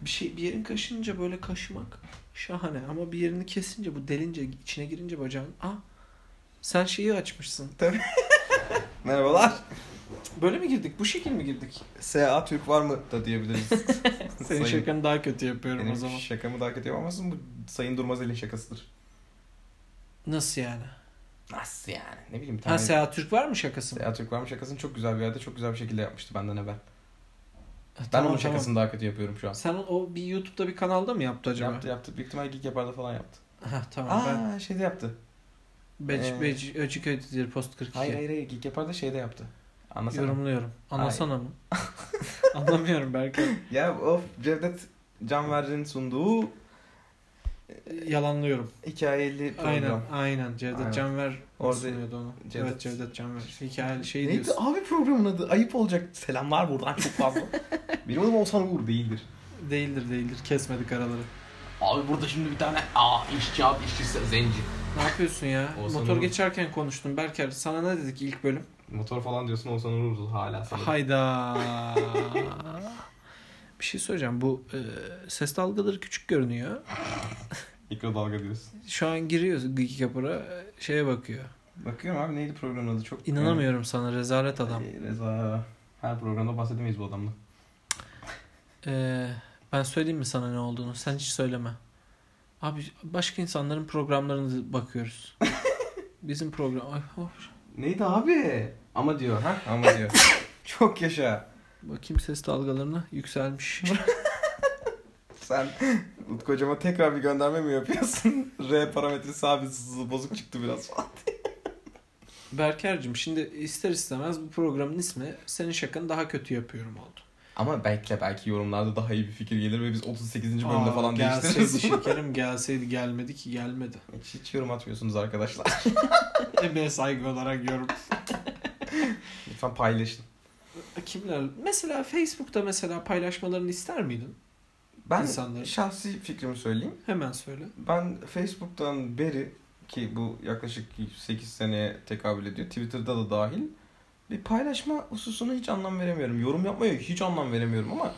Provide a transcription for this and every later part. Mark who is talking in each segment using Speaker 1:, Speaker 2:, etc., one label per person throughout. Speaker 1: bir şey bir yerin kaşınca böyle kaşımak şahane ama bir yerini kesince bu delince içine girince bacağın ah sen şeyi açmışsın.
Speaker 2: Merhabalar.
Speaker 1: Böyle mi girdik? Bu şekil mi girdik?
Speaker 2: SA Türk var mı da diyebiliriz.
Speaker 1: Senin
Speaker 2: Sayın-
Speaker 1: şakanı daha kötü yapıyorum
Speaker 2: Benim
Speaker 1: o zaman.
Speaker 2: şakamı daha kötü yapamazsın. Bu Sayın Durmaz elin şakasıdır.
Speaker 1: Nasıl yani?
Speaker 2: Nasıl yani? Ne bileyim bir
Speaker 1: Ha
Speaker 2: tane
Speaker 1: Seha Türk var mı şakası? mı?
Speaker 2: SA Türk var mı şakasını çok güzel bir yerde çok güzel bir şekilde yapmıştı benden evvel.
Speaker 1: Ha,
Speaker 2: Ben
Speaker 1: tamam, tamam.
Speaker 2: onun şakasını daha kötü yapıyorum şu an.
Speaker 1: Sen o bir YouTube'da bir kanalda mı yaptı acaba?
Speaker 2: Yaptı yaptı. Büyük ihtimalle Geek Yapar'da falan yaptı.
Speaker 1: Ha tamam ben.
Speaker 2: Aa şeyde yaptı.
Speaker 1: Bec,
Speaker 2: Ee,
Speaker 1: bec, Öcüköy'dedir Post 42.
Speaker 2: Hayır hayır hayır Geek Yapar'da şeyde yaptı. Anlasana.
Speaker 1: Yorumluyorum. Anlasana mı? Anlamıyorum belki.
Speaker 2: Ya of Cevdet Canverci'nin sunduğu
Speaker 1: Yalanlıyorum.
Speaker 2: hikayeli program.
Speaker 1: Aynen, aynen.
Speaker 2: Aynen.
Speaker 1: Cevdet Canver
Speaker 2: Orada-
Speaker 1: sunuyordu onu.
Speaker 2: Cevdet-
Speaker 1: Evet, Cevdet Canver. Hikayeli şey
Speaker 2: Neydi
Speaker 1: diyorsun.
Speaker 2: abi programın adı? Ayıp olacak. Selamlar buradan çok fazla. Benim adım Oğuzhan Uğur değildir.
Speaker 1: Değildir, değildir. Kesmedik araları.
Speaker 2: Abi burada şimdi bir tane aa işçi abi işçi zenci.
Speaker 1: Ne yapıyorsun ya?
Speaker 2: Oğuzhan
Speaker 1: Motor
Speaker 2: Uğur.
Speaker 1: geçerken konuştum. Berker sana ne dedik ilk bölüm?
Speaker 2: Motor falan diyorsun Oğuzhan Uğur'dur hala sanırım.
Speaker 1: Hayda. Bir şey söyleyeceğim. Bu e, ses dalgaları küçük görünüyor.
Speaker 2: Mikrodalga diyorsun.
Speaker 1: Şu an giriyoruz Geek Yapar'a e, şeye bakıyor.
Speaker 2: Bakıyorum abi neydi programın adı çok...
Speaker 1: İnanamıyorum sana rezalet adam.
Speaker 2: Ee, Reza. Her programda bahsedemeyiz bu adamla.
Speaker 1: Ee, ben söyleyeyim mi sana ne olduğunu? Sen hiç söyleme. Abi başka insanların programlarına bakıyoruz. Bizim program... Ay, oh, hoş.
Speaker 2: Neydi abi? Ama diyor ha? Ama diyor. çok yaşa.
Speaker 1: Bakayım ses dalgalarına yükselmiş.
Speaker 2: Sen Utku hocama tekrar bir gönderme mi yapıyorsun? R parametresi abi z- bozuk çıktı biraz falan.
Speaker 1: Berker'cim şimdi ister istemez bu programın ismi senin şakanı daha kötü yapıyorum oldu.
Speaker 2: Ama belki belki yorumlarda daha iyi bir fikir gelir ve biz 38.
Speaker 1: Aa, Gelseydi şekerim gelseydi gelmedi ki gelmedi.
Speaker 2: hiç, hiç yorum atmıyorsunuz arkadaşlar.
Speaker 1: Emeğe saygı olarak yorum.
Speaker 2: Lütfen paylaşın.
Speaker 1: Kimler? Mesela Facebook'ta mesela paylaşmalarını ister miydin?
Speaker 2: Ben
Speaker 1: İnsanları.
Speaker 2: şahsi fikrimi söyleyeyim.
Speaker 1: Hemen söyle.
Speaker 2: Ben Facebook'tan beri ki bu yaklaşık 8 seneye tekabül ediyor. Twitter'da da dahil. Bir paylaşma hususuna hiç anlam veremiyorum. Yorum yapmaya hiç anlam veremiyorum ama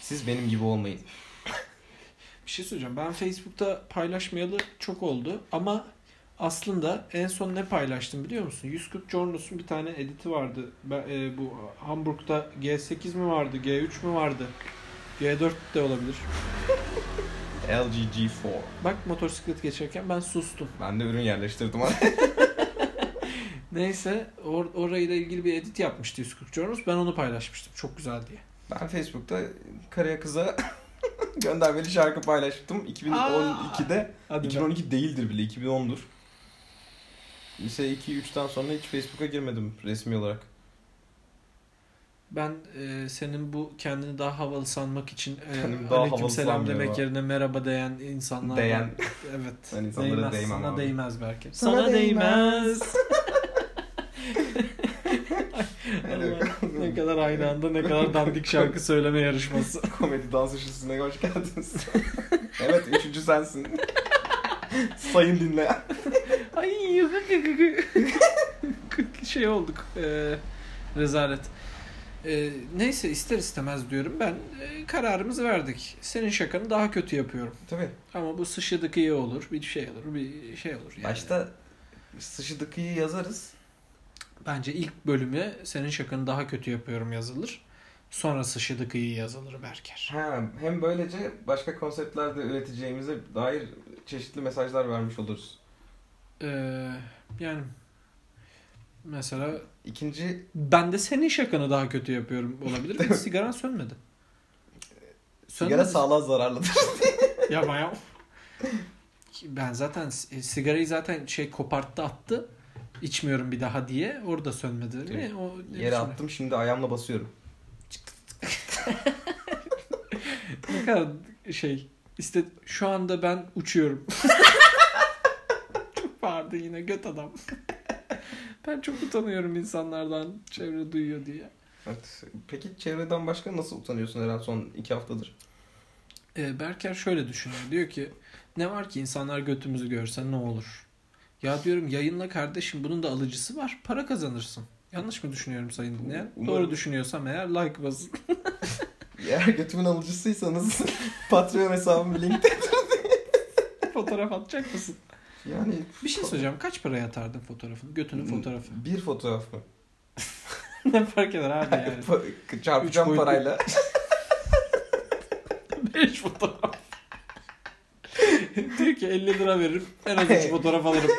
Speaker 2: siz benim gibi olmayın.
Speaker 1: Bir şey söyleyeceğim. Ben Facebook'ta paylaşmayalı çok oldu ama aslında en son ne paylaştım biliyor musun? 140 Jornos'un bir tane editi vardı. Ben, e, bu Hamburg'da G8 mi vardı, G3 mü vardı? G4 de olabilir.
Speaker 2: LG G4.
Speaker 1: Bak motosiklet geçerken ben sustum.
Speaker 2: Ben de ürün yerleştirdim.
Speaker 1: Neyse or orayla ilgili bir edit yapmıştı 140 Jornos. Ben onu paylaşmıştım. Çok güzel diye.
Speaker 2: ben Facebook'ta karıya kıza göndermeli şarkı paylaştım. 2012'de
Speaker 1: Hadi
Speaker 2: 2012 değildir bile 2010'dur. Lise 2-3'ten sonra hiç Facebook'a girmedim resmi olarak.
Speaker 1: Ben e, senin bu kendini daha havalı sanmak için e,
Speaker 2: Kendimi daha
Speaker 1: aleyküm
Speaker 2: havalı
Speaker 1: selam
Speaker 2: sanmıyorum
Speaker 1: demek
Speaker 2: abi.
Speaker 1: yerine merhaba diyen insanlar var.
Speaker 2: Değen.
Speaker 1: Evet.
Speaker 2: Ben
Speaker 1: değmez.
Speaker 2: insanlara değmem
Speaker 1: Sana
Speaker 2: abi.
Speaker 1: değmez belki.
Speaker 2: Sana değmez.
Speaker 1: Ay, Allah, ne kadar aynı anda ne kadar dandik şarkı söyleme yarışması.
Speaker 2: Komedi dans üçlüsüne hoş geldiniz. evet üçüncü sensin. Sayın dinleyen.
Speaker 1: Ay yok şey olduk. Ee, rezalet. Ee, neyse ister istemez diyorum ben e, kararımızı verdik. Senin şakanı daha kötü yapıyorum.
Speaker 2: Tabii.
Speaker 1: Ama bu sıçradık iyi olur. Bir şey olur. Bir şey olur. Yani.
Speaker 2: Başta sıçıdıkıyı yazarız.
Speaker 1: Bence ilk bölümü senin şakanı daha kötü yapıyorum yazılır. Sonra sıçradık iyi yazılır Berker.
Speaker 2: Ha, hem böylece başka konseptlerde üreteceğimize dair çeşitli mesajlar vermiş oluruz.
Speaker 1: Ee, yani mesela
Speaker 2: İkinci
Speaker 1: ben de senin şakanı daha kötü yapıyorum olabilir. Bir sigaran sönmedi.
Speaker 2: sigara
Speaker 1: Sönmedi.
Speaker 2: sağlığa zararlıdır.
Speaker 1: Yapma ya. Ki Ben zaten si- e, sigarayı zaten şey koparttı attı. İçmiyorum bir daha diye. Orada sönmedi.
Speaker 2: Tabii.
Speaker 1: Ne? O, ne
Speaker 2: Yere
Speaker 1: biçim-
Speaker 2: attım şimdi ayağımla basıyorum.
Speaker 1: Ne kadar şey. İşte şu anda ben uçuyorum. çok bağırdı yine göt adam. ben çok utanıyorum insanlardan çevre duyuyor diye.
Speaker 2: Evet. Peki çevreden başka nasıl utanıyorsun Eren son iki haftadır?
Speaker 1: E, Berker şöyle düşünüyor. Diyor ki ne var ki insanlar götümüzü görse ne olur? Ya diyorum yayınla kardeşim bunun da alıcısı var. Para kazanırsın. Yanlış mı düşünüyorum sayın dinleyen?
Speaker 2: Umarım.
Speaker 1: Doğru düşünüyorsam eğer like basın.
Speaker 2: Eğer götümün alıcısıysanız Patreon hesabım linkte.
Speaker 1: Fotoğraf atacak mısın?
Speaker 2: Yani
Speaker 1: Bir şey söyleyeceğim. Kaç paraya atardın fotoğrafını?
Speaker 2: Hmm.
Speaker 1: Götünün fotoğrafı.
Speaker 2: Bir fotoğraf mı?
Speaker 1: ne fark eder abi yani?
Speaker 2: Pa-
Speaker 1: Üç
Speaker 2: Çarpacağım
Speaker 1: boyutlu.
Speaker 2: parayla.
Speaker 1: 5 fotoğraf. Diyor ki 50 lira veririm. En az 3 fotoğraf alırım.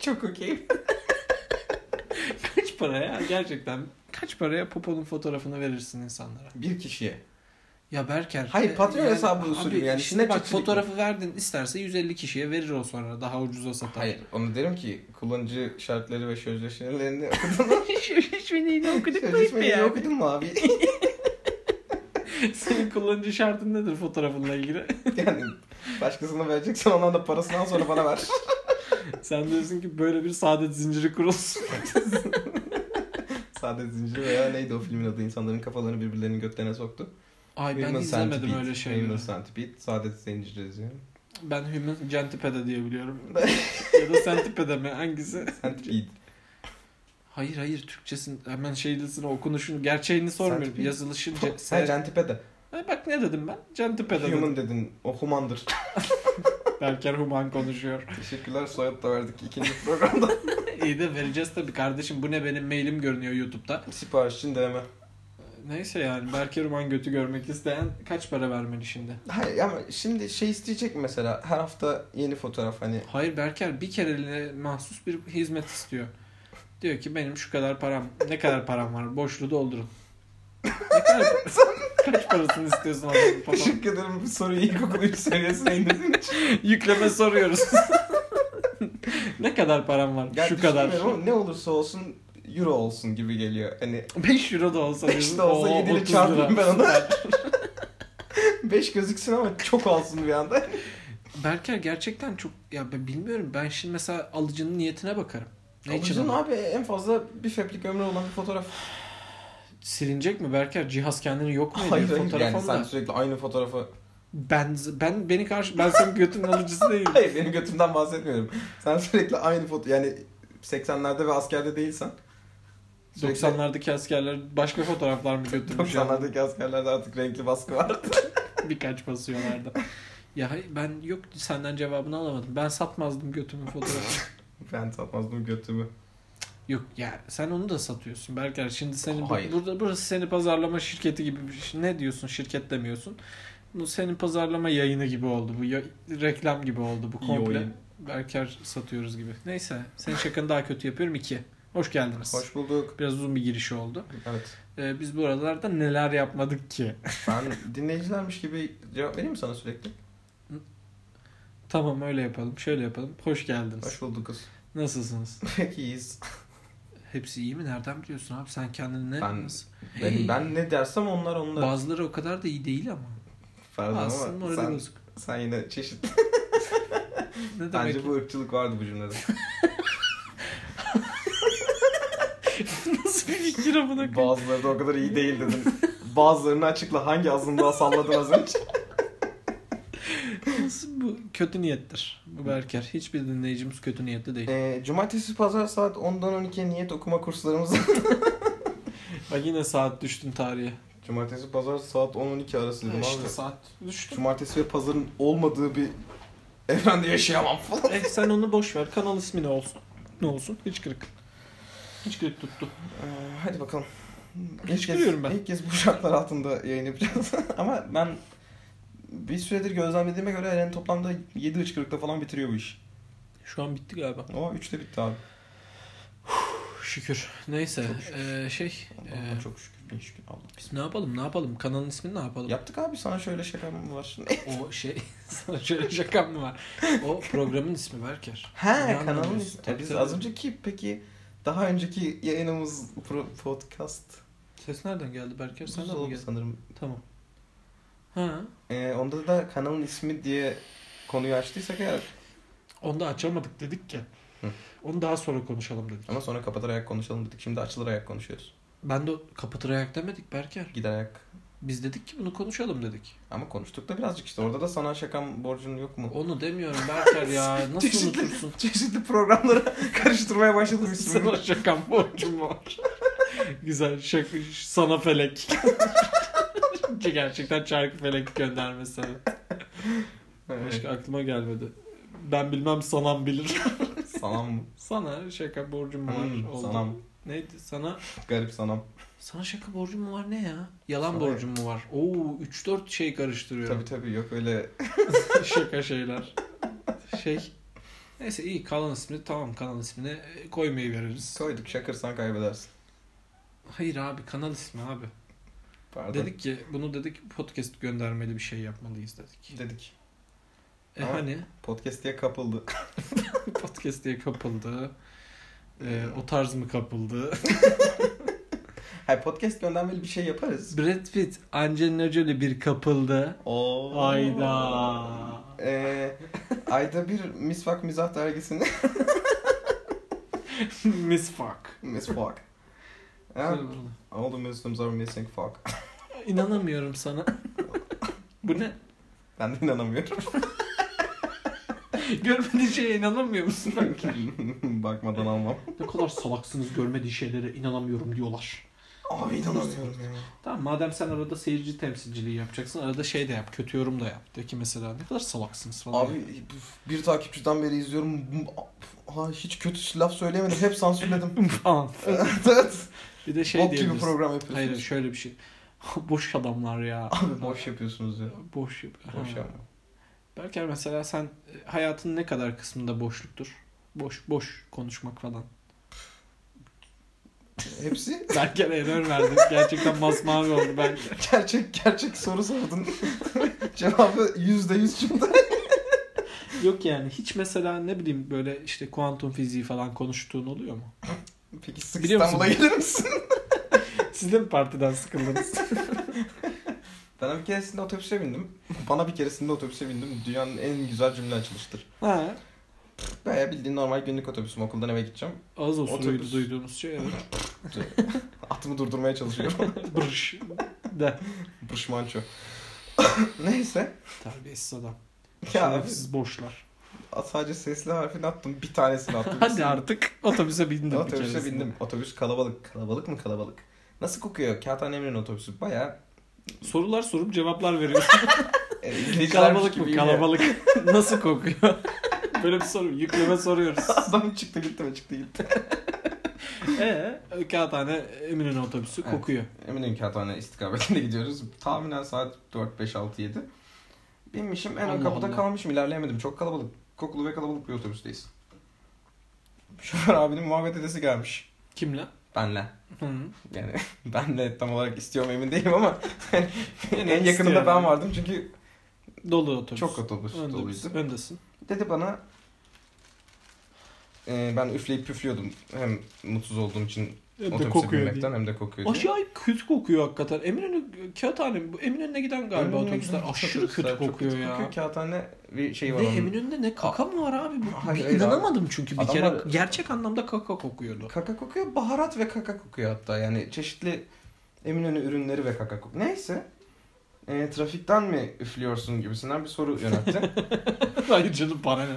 Speaker 2: Çok okey.
Speaker 1: kaç paraya? Gerçekten kaç paraya poponun fotoğrafını verirsin insanlara?
Speaker 2: Bir kişiye.
Speaker 1: Ya Berker.
Speaker 2: Hayır,
Speaker 1: e,
Speaker 2: Patreon hesabı usulü
Speaker 1: abi
Speaker 2: yani.
Speaker 1: Şimdi bak
Speaker 2: Snapchat'çilik mi?
Speaker 1: fotoğrafı verdin isterse 150 kişiye verir o sonra daha ucuza satar.
Speaker 2: Hayır. Onu derim ki kullanıcı şartları ve sözleşmelerini
Speaker 1: Sözleşmeni yine okuduk mu ipi
Speaker 2: Sözleşmeleri
Speaker 1: yani?
Speaker 2: okudun mu abi?
Speaker 1: Senin kullanıcı şartın nedir fotoğrafınla ilgili?
Speaker 2: yani başkasına vereceksen ondan da parasını al sonra bana ver.
Speaker 1: Sen diyorsun ki böyle bir saadet zinciri kurulsun.
Speaker 2: Saadet Zinciri veya neydi o filmin adı? İnsanların kafalarını birbirlerinin götlerine soktu.
Speaker 1: Ay ben
Speaker 2: Human
Speaker 1: izlemedim
Speaker 2: Centipede.
Speaker 1: öyle şeyleri.
Speaker 2: Human Centipede. Saadet Zinciri izliyorum.
Speaker 1: Ben Human Centipede diye biliyorum. ya da Centipede mi? Hangisi?
Speaker 2: Centipede.
Speaker 1: Hayır hayır Türkçesin hemen şeylisini okunuşunu gerçeğini sormuyorum.
Speaker 2: Centipede.
Speaker 1: Yazılışı ce-
Speaker 2: Sen
Speaker 1: se-
Speaker 2: Centipede.
Speaker 1: Ay bak ne dedim ben? Centipede dedim.
Speaker 2: Human dedin. O humandır.
Speaker 1: Berker Human konuşuyor.
Speaker 2: Teşekkürler soyad da verdik ikinci programda.
Speaker 1: İyi de vereceğiz tabii kardeşim. Bu ne benim mailim görünüyor YouTube'da.
Speaker 2: Sipariş için deneme.
Speaker 1: Neyse yani Berker Human götü görmek isteyen kaç para vermeli şimdi?
Speaker 2: Hayır ama şimdi şey isteyecek mi mesela her hafta yeni fotoğraf hani
Speaker 1: Hayır Berker bir kereliğine mahsus bir hizmet istiyor. Diyor ki benim şu kadar param, ne kadar param var boşluğu doldurun. Ne kadar, kaç parasını istiyorsun adamın falan?
Speaker 2: teşekkür ederim bu soruyu ilkokul 3 seviyesine indirdiğin için.
Speaker 1: Yükleme soruyoruz. ne kadar param var?
Speaker 2: Ya
Speaker 1: şu kadar.
Speaker 2: düşünmüyorum ama ne olursa olsun euro olsun gibi geliyor. Hani
Speaker 1: 5 euro da olsa.
Speaker 2: Beş
Speaker 1: diyorsun,
Speaker 2: de olsa
Speaker 1: "Oo,
Speaker 2: yedi ile
Speaker 1: 30 lira."
Speaker 2: çarpayım ben onu. 5 gözüksün ama çok olsun bir anda.
Speaker 1: Berker gerçekten çok ya ben bilmiyorum ben şimdi mesela alıcının niyetine bakarım. Ne için
Speaker 2: Alıcının
Speaker 1: alıyor?
Speaker 2: abi en fazla bir feplik ömrü olan bir fotoğraf.
Speaker 1: Silinecek mi Berker? Cihaz kendini yok mu ediyor
Speaker 2: Hayır hayır
Speaker 1: fotoğraf
Speaker 2: yani sen
Speaker 1: onda?
Speaker 2: sürekli aynı fotoğrafı.
Speaker 1: Ben ben beni karşı ben senin götünün alıcısı değilim.
Speaker 2: Hayır benim götümden bahsetmiyorum. Sen sürekli aynı foto yani 80'lerde ve askerde değilsen. sürekli-
Speaker 1: 90'lardaki askerler başka fotoğraflar mı götürmüş? ya?
Speaker 2: 90'lardaki askerlerde artık renkli baskı vardı.
Speaker 1: Birkaç basıyorlardı. Ya hayır, ben yok senden cevabını alamadım. Ben satmazdım götümün fotoğrafını.
Speaker 2: ben satmazdım götümü.
Speaker 1: yok ya sen onu da satıyorsun Berker. Şimdi senin bu-
Speaker 2: Hayır.
Speaker 1: burada burası seni pazarlama şirketi gibi bir şey. Ne diyorsun? Şirket demiyorsun. Bu senin pazarlama yayını gibi oldu. Bu ya- reklam gibi oldu bu
Speaker 2: İyi
Speaker 1: komple.
Speaker 2: oyun.
Speaker 1: Berker satıyoruz gibi. Neyse senin şakanı daha kötü yapıyorum iki. Hoş geldiniz.
Speaker 2: Hoş bulduk.
Speaker 1: Biraz uzun bir giriş oldu.
Speaker 2: Evet.
Speaker 1: Ee, biz buralarda neler yapmadık ki?
Speaker 2: Ben dinleyicilermiş gibi cevap vereyim mi sana sürekli?
Speaker 1: Tamam öyle yapalım. Şöyle yapalım. Hoş geldiniz.
Speaker 2: Hoş bulduk kız.
Speaker 1: Nasılsınız?
Speaker 2: Peki iyiyiz.
Speaker 1: Hepsi iyi mi? Nereden biliyorsun abi? Sen kendini ne?
Speaker 2: Ben-
Speaker 1: nasıl-
Speaker 2: Ben, ben ne dersem onlar onlar.
Speaker 1: Bazıları o kadar da iyi değil ama.
Speaker 2: Pardon
Speaker 1: Aslında
Speaker 2: ama
Speaker 1: orada
Speaker 2: sen,
Speaker 1: bozuk.
Speaker 2: sen yine çeşit.
Speaker 1: Ne demek?
Speaker 2: Bence bu ırkçılık vardı bu cümlede.
Speaker 1: Nasıl bir fikir amına koyayım?
Speaker 2: Bazıları da o kadar iyi değil dedin. Bazılarını açıkla hangi azınlığa salladın az önce.
Speaker 1: Nasıl bu? Kötü niyettir. Bu Berker. Hiçbir dinleyicimiz kötü niyetli değil.
Speaker 2: Ee, cumartesi pazar saat 10'dan 12'ye niyet okuma kurslarımız.
Speaker 1: Bak yine saat düştün tarihe.
Speaker 2: cumartesi pazar saat 10-12 arası dedim
Speaker 1: işte
Speaker 2: abi.
Speaker 1: saat düştü.
Speaker 2: Cumartesi ve pazarın olmadığı bir evrende yaşayamam falan.
Speaker 1: Eh, sen onu boş ver. Kanal ismi ne olsun? Ne olsun? Hiç kırık. Hiç kırık tuttu.
Speaker 2: Ee, hadi bakalım.
Speaker 1: Hiç
Speaker 2: kez-
Speaker 1: gülüyorum ben.
Speaker 2: İlk kez bu şartlar altında yayın yapacağız. Ama ben bir süredir gözlemlediğime göre Eren toplamda 7 hıçkırıkta falan bitiriyor bu iş.
Speaker 1: Şu an bitti galiba.
Speaker 2: O 3'te bitti abi.
Speaker 1: Şükür. Neyse. eee, şey. eee,
Speaker 2: Allah'ıma çok şükür. Bin şükür Allah.
Speaker 1: Biz ne yapalım ne yapalım? Kanalın ismini ne yapalım?
Speaker 2: Yaptık abi sana şöyle şakam var.
Speaker 1: O şey sana şöyle şakam mı var? O programın ismi Berker. Ne
Speaker 2: He kanalın
Speaker 1: anlamıyorsun?
Speaker 2: ismi.
Speaker 1: Tabii,
Speaker 2: Biz
Speaker 1: tabii.
Speaker 2: az önceki peki daha önceki yayınımız pro- podcast.
Speaker 1: Ses nereden geldi Berker? Senden mi
Speaker 2: Buzdolabı
Speaker 1: geldi?
Speaker 2: sanırım.
Speaker 1: Tamam. Ha.
Speaker 2: Ee, onda da kanalın ismi diye konuyu açtıysak eğer
Speaker 1: Onu da açamadık dedik ki.
Speaker 2: Hı.
Speaker 1: Onu daha sonra konuşalım dedik.
Speaker 2: ama sonra kapatır ayak konuşalım dedik. Şimdi açılır ayak konuşuyoruz.
Speaker 1: Ben de o- kapatır ayak demedik Berker.
Speaker 2: Gider ayak
Speaker 1: Biz dedik ki bunu konuşalım dedik.
Speaker 2: Ama konuştuk da birazcık işte. Orada da sana şakam borcun yok mu?
Speaker 1: Onu demiyorum Berker ya. Nasıl
Speaker 2: Çeşitli-
Speaker 1: unutursun?
Speaker 2: Çeşitli programlara karıştırmaya başladım
Speaker 1: Sana şakam borcum var. Güzel şaka sana felek. Keşke gerçekten çarkı felek göndermese. Başka aklıma gelmedi. Ben bilmem sanan bilir.
Speaker 2: Sanam mı?
Speaker 1: Sana şaka borcum mu var?
Speaker 2: Hmm,
Speaker 1: Oldu.
Speaker 2: sanam.
Speaker 1: Neydi sana?
Speaker 2: Garip sanam.
Speaker 1: Sana şaka borcum mu var ne ya? Yalan
Speaker 2: Sana-
Speaker 1: borcum mu var? Oo 3-4 şey
Speaker 2: Tabii
Speaker 1: karıştırıyorum.
Speaker 2: tabii yok öyle.
Speaker 1: şaka şeyler. Şey. Neyse iyi kalan ismini tamam kalan ismini e, koymayı veririz.
Speaker 2: Koyduk şakırsan kaybedersin.
Speaker 1: Hayır abi kanal ismi abi.
Speaker 2: Pardon.
Speaker 1: Dedik ki bunu dedik podcast göndermeli bir şey yapmalıyız dedik.
Speaker 2: Dedik.
Speaker 1: E
Speaker 2: Ama-
Speaker 1: hani
Speaker 2: Podcast diye kapıldı.
Speaker 1: podcast diye kapıldı. E, o tarz mı kapıldı?
Speaker 2: Hayır podcast göndermeli bir şey yaparız.
Speaker 1: Brad Pitt, Angelina Jolie bir kapıldı.
Speaker 2: Oo.
Speaker 1: Ayda.
Speaker 2: Ee, ayda bir Misvak Mizah dergisini
Speaker 1: Miss Fuck.
Speaker 2: Misvak. Ha, all the Muslims are missing fuck.
Speaker 1: İnanamıyorum sana. Bu ne?
Speaker 2: Ben de inanamıyorum.
Speaker 1: Görmediğin şeye inanamıyor musun?
Speaker 2: Bakmadan almam.
Speaker 1: ne kadar salaksınız görmediği şeylere inanamıyorum diyorlar.
Speaker 2: Abi inanamıyorum ya.
Speaker 1: Tamam madem sen arada seyirci temsilciliği yapacaksın arada şey de yap kötü yorum da yap. De ki mesela ne kadar salaksınız falan.
Speaker 2: Abi bir takipçiden beri izliyorum. Ha, hiç kötü laf söyleyemedim. Hep sansürledim.
Speaker 1: falan.
Speaker 2: evet. evet.
Speaker 1: Bir de şey
Speaker 2: Bok gibi
Speaker 1: diyebilirsin.
Speaker 2: program
Speaker 1: Şey Hayır
Speaker 2: yapıyorsunuz.
Speaker 1: şöyle bir şey. boş adamlar ya.
Speaker 2: Abi boş yapıyorsunuz ya.
Speaker 1: Boş. yap-
Speaker 2: Boş
Speaker 1: Ha.
Speaker 2: yapma.
Speaker 1: Berker mesela sen e, hayatın ne kadar kısmında boşluktur? Boş boş konuşmak falan.
Speaker 2: Hepsi
Speaker 1: Berker error verdi. Gerçekten masmavi oldu Berker.
Speaker 2: gerçek gerçek soru sordun. Cevabı yüzde yüz çıktı.
Speaker 1: Yok yani hiç mesela ne bileyim böyle işte kuantum fiziği falan konuştuğun oluyor mu?
Speaker 2: Peki sık
Speaker 1: Biliyor musun?
Speaker 2: İstanbul'a gelir misin?
Speaker 1: Siz de mi partiden sıkıldınız?
Speaker 2: Ben bir keresinde otobüse bindim. Bana bir keresinde otobüse bindim. Dünyanın en güzel cümle açılıştır.
Speaker 1: ha.
Speaker 2: Bayağı bildiğin normal günlük otobüsüm. Okuldan eve gideceğim.
Speaker 1: Ağız osuruydu
Speaker 2: Otobüs.
Speaker 1: duyduğunuz şey evet.
Speaker 2: Atımı durdurmaya çalışıyorum.
Speaker 1: Brış. De.
Speaker 2: Pırşmanço. Neyse.
Speaker 1: Terbiyesiz adam.
Speaker 2: Ya abi,
Speaker 1: Şerefsiz boşlar.
Speaker 2: sadece sesli harfini attım. Bir tanesini attım.
Speaker 1: Hadi artık otobüse bindim bir
Speaker 2: Otobüse
Speaker 1: keresinde.
Speaker 2: bindim. Otobüs kalabalık. Kalabalık mı kalabalık? Nasıl kokuyor? Kağıthane Emre'nin otobüsü. Bayağı
Speaker 1: Sorular sorup cevaplar veriyorsun.
Speaker 2: e, izleyicilermiş
Speaker 1: kalabalık mı?
Speaker 2: gibi yine.
Speaker 1: Kalabalık. Nasıl kokuyor? Böyle bir soru. Yükleme soruyoruz.
Speaker 2: Adam çıktı gitti mi çıktı gitti.
Speaker 1: Ee, kağıthane Eminönü otobüsü
Speaker 2: Evet.
Speaker 1: kokuyor.
Speaker 2: Eminim Kağıthane istikametine gidiyoruz. Tahminen saat 4, 5, 6, 7. Binmişim en ön
Speaker 1: Allah
Speaker 2: kapıda
Speaker 1: Allah.
Speaker 2: kalmışım ilerleyemedim. Çok kalabalık. Kokulu ve kalabalık bir otobüsteyiz. Şoför abinin muhabbet edesi gelmiş.
Speaker 1: Kimle?
Speaker 2: Benle.
Speaker 1: Hı.
Speaker 2: Yani benle tam olarak istiyorum emin değilim ama en
Speaker 1: istiyor
Speaker 2: yakınında ben
Speaker 1: yani.
Speaker 2: vardım çünkü
Speaker 1: Dolu otobüs.
Speaker 2: çok otobüs doluydu.
Speaker 1: Öndesin. Öndesin.
Speaker 2: Dedi bana e, ben üfleyip püflüyordum. Hem mutsuz olduğum için
Speaker 1: Hem de
Speaker 2: otobüse
Speaker 1: kokuyor
Speaker 2: binmekten
Speaker 1: diye.
Speaker 2: hem de kokuyor diye.
Speaker 1: Acayip kötü kokuyor hakikaten. Eminönü kağıthane mi? Bu Eminönü'ne giden galiba
Speaker 2: Eminönü'ne
Speaker 1: otobüsler.
Speaker 2: giden
Speaker 1: Aşırı
Speaker 2: otobüsler
Speaker 1: kötü
Speaker 2: çok
Speaker 1: kokuyor ya.
Speaker 2: Kokuyor. Kağıthane bir şey var
Speaker 1: Ne
Speaker 2: onun.
Speaker 1: Eminönü'nde ne kaka mı var abi? Bu,
Speaker 2: Hayır,
Speaker 1: bir
Speaker 2: hayır
Speaker 1: inanamadım çünkü bir
Speaker 2: Adamlar-
Speaker 1: kere gerçek anlamda kaka kokuyordu.
Speaker 2: Kaka kokuyor, baharat ve kaka kokuyor hatta. Yani çeşitli Eminönü ürünleri ve kaka kokuyor. Neyse. E, trafikten mi üflüyorsun gibisinden bir soru yöneltti.
Speaker 1: Hayır canım bana ne?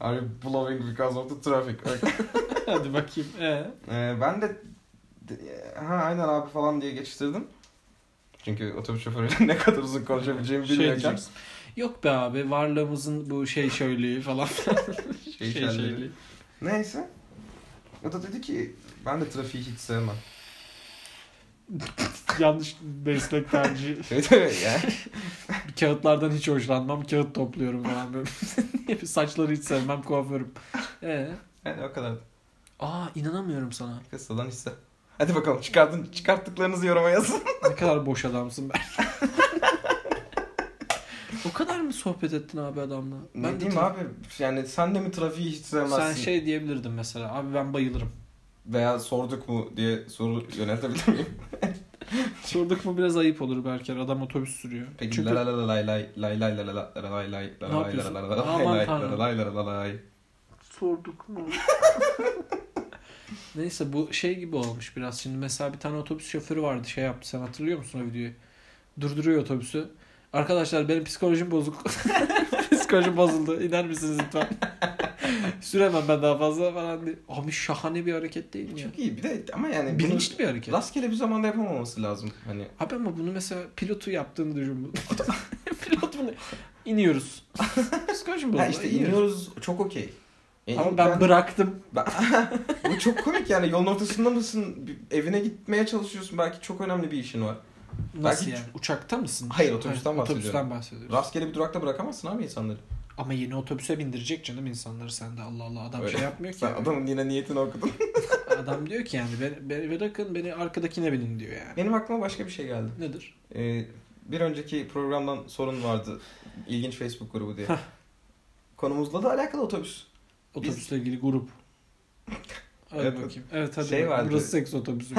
Speaker 2: Are you blowing because of the traffic?
Speaker 1: Hadi bakayım. Ee?
Speaker 2: E, ben de de- ha aynen abi falan diye geçiştirdim. Çünkü otobüs şoförüyle ne kadar uzun konuşabileceğimi
Speaker 1: Şey
Speaker 2: bilmiyorken.
Speaker 1: diyeceksin. Yok be abi varlığımızın bu şey şöyleyi falan.
Speaker 2: Şey şerleri. Neyse. O da dedi ki ben de trafiği hiç sevmem.
Speaker 1: Yanlış meslek tercihi.
Speaker 2: Evet evet yani.
Speaker 1: Bir Kağıtlardan hiç hoşlanmam. Kağıt topluyorum falan böyle. Bir Saçları hiç sevmem. Kuaförüm. Ee?
Speaker 2: yani o kadar. Aa,
Speaker 1: inanamıyorum sana.
Speaker 2: Kısadan hisse. Hadi bakalım çıkartın, çıkarttıklarınızı yoruma yazın.
Speaker 1: Ne kadar boş adamsın ben. o kadar mı sohbet ettin abi adamla?
Speaker 2: Ne
Speaker 1: de
Speaker 2: diyeyim
Speaker 1: tabii-
Speaker 2: abi yani sen de mi trafiği hiç sevmezsin?
Speaker 1: Sen şey diyebilirdin mesela. Abi ben bayılırım.
Speaker 2: Veya sorduk mu diye soru yöneltebilir miyim?
Speaker 1: Sorduk mu biraz ayıp olur Berker. Adam otobüs sürüyor.
Speaker 2: Peki
Speaker 1: Çünkü
Speaker 2: la la la lay lay lay lay lay lay lay lay lay lay lay
Speaker 1: Ne yapıyorsun?
Speaker 2: lay lay lay
Speaker 1: Aman
Speaker 2: lay
Speaker 1: tanrım.
Speaker 2: lay lay lay lay.
Speaker 1: sorduk mu? Neyse bu şey gibi olmuş biraz. Şimdi mesela bir tane otobüs şoförü vardı. Şey yaptı. Sen hatırlıyor musun o videoyu? Durduruyor otobüsü. Arkadaşlar benim psikolojim bozuk. psikolojim bozuldu. İner misiniz lütfen? Süremem ben daha fazla falan diye. Abi şahane bir hareket değil mi ya?
Speaker 2: Çok iyi bir de ama yani
Speaker 1: Bilinçli bir hareket.
Speaker 2: bunu rastgele bir zamanda yapamaması lazım. Hani
Speaker 1: Abi ama bunu mesela pilotu yaptığını düşün. Pilot bunu iniyoruz. Psikolojim bozuldu.
Speaker 2: ha işte
Speaker 1: iniyoruz.
Speaker 2: iniyoruz çok okey. Yani
Speaker 1: Ama ben bıraktım.
Speaker 2: Bu çok komik yani yolun ortasında mısın? Bir- Evine gitmeye çalışıyorsun belki çok önemli bir işin var.
Speaker 1: Nasıl
Speaker 2: Belki
Speaker 1: yani? Uçakta mısın?
Speaker 2: Hayır, otobüsten bahsediyorum.
Speaker 1: Otobüsten bahsediyoruz.
Speaker 2: Rastgele bir durakta bırakamazsın abi insanları.
Speaker 1: Ama yeni otobüse bindirecek canım insanları sen de Allah Allah adam
Speaker 2: Öyle.
Speaker 1: şey yapmıyor ki.
Speaker 2: Sen
Speaker 1: yani. adam...
Speaker 2: adamın yine niyetini okudun.
Speaker 1: diyor ki yani beni, beni bırakın beni arkadakine binin diyor yani.
Speaker 2: Benim aklıma başka bir şey geldi.
Speaker 1: Nedir?
Speaker 2: Ee, bir önceki programdan sorun vardı. İlginç Facebook grubu diye. Konumuzla da alakalı otobüs.
Speaker 1: Otobüsle ilgili grup. Hadi
Speaker 2: Evet,
Speaker 1: bakayım. Evet hadi.
Speaker 2: şey
Speaker 1: bak.
Speaker 2: vardı.
Speaker 1: Burası seks otobüsü.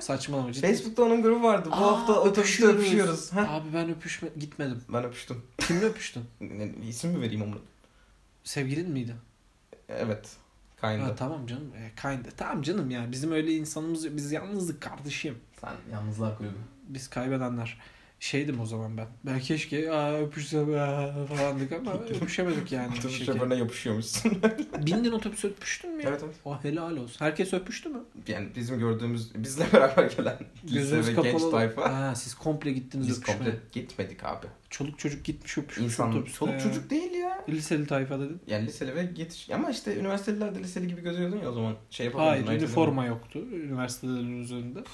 Speaker 1: Saçmalama ciddi.
Speaker 2: Facebook'ta onun grubu vardı. Bu
Speaker 1: Aa,
Speaker 2: hafta otobüste
Speaker 1: öpüşüyoruz.
Speaker 2: öpüşüyoruz. Ha?
Speaker 1: Abi ben öpüşme gitmedim.
Speaker 2: Ben öpüştüm.
Speaker 1: Kimle öpüştün?
Speaker 2: Ne, isim mi vereyim onu?
Speaker 1: Sevgilin miydi?
Speaker 2: Evet. Kinda.
Speaker 1: Ha, tamam canım. E, kinda. Tamam canım ya. Bizim öyle insanımız biz yalnızlık kardeşim.
Speaker 2: Sen yalnızlığa kulübü.
Speaker 1: Biz kaybedenler. Şeydim o zaman ben. Ben keşke aa, öpüşsem aa, falandık ama öpüşemedik yani.
Speaker 2: Otobüs
Speaker 1: Şeker.
Speaker 2: şoförüne yapışıyormuşsun.
Speaker 1: Bindin otobüse öpüştün mü ya?
Speaker 2: evet evet.
Speaker 1: O helal olsun. Herkes öpüştü mü?
Speaker 2: Yani bizim gördüğümüz, bizle beraber gelen lise ve genç tayfa.
Speaker 1: Ha, siz komple gittiniz
Speaker 2: Biz
Speaker 1: öpüşmeye.
Speaker 2: komple gitmedik abi.
Speaker 1: Çoluk çocuk gitmiş öpüşmüş
Speaker 2: İnsan,
Speaker 1: otobüste.
Speaker 2: çoluk
Speaker 1: ya.
Speaker 2: çocuk değil ya.
Speaker 1: Liseli tayfa dedin.
Speaker 2: Yani liseli ve yetiş... Ama işte üniversiteliler de liseli gibi gözüyordun ya o zaman. Şey yapamadın.
Speaker 1: Hayır
Speaker 2: ayırt
Speaker 1: üniforma yoktu üniversitelerin üzerinde.
Speaker 2: edemedim.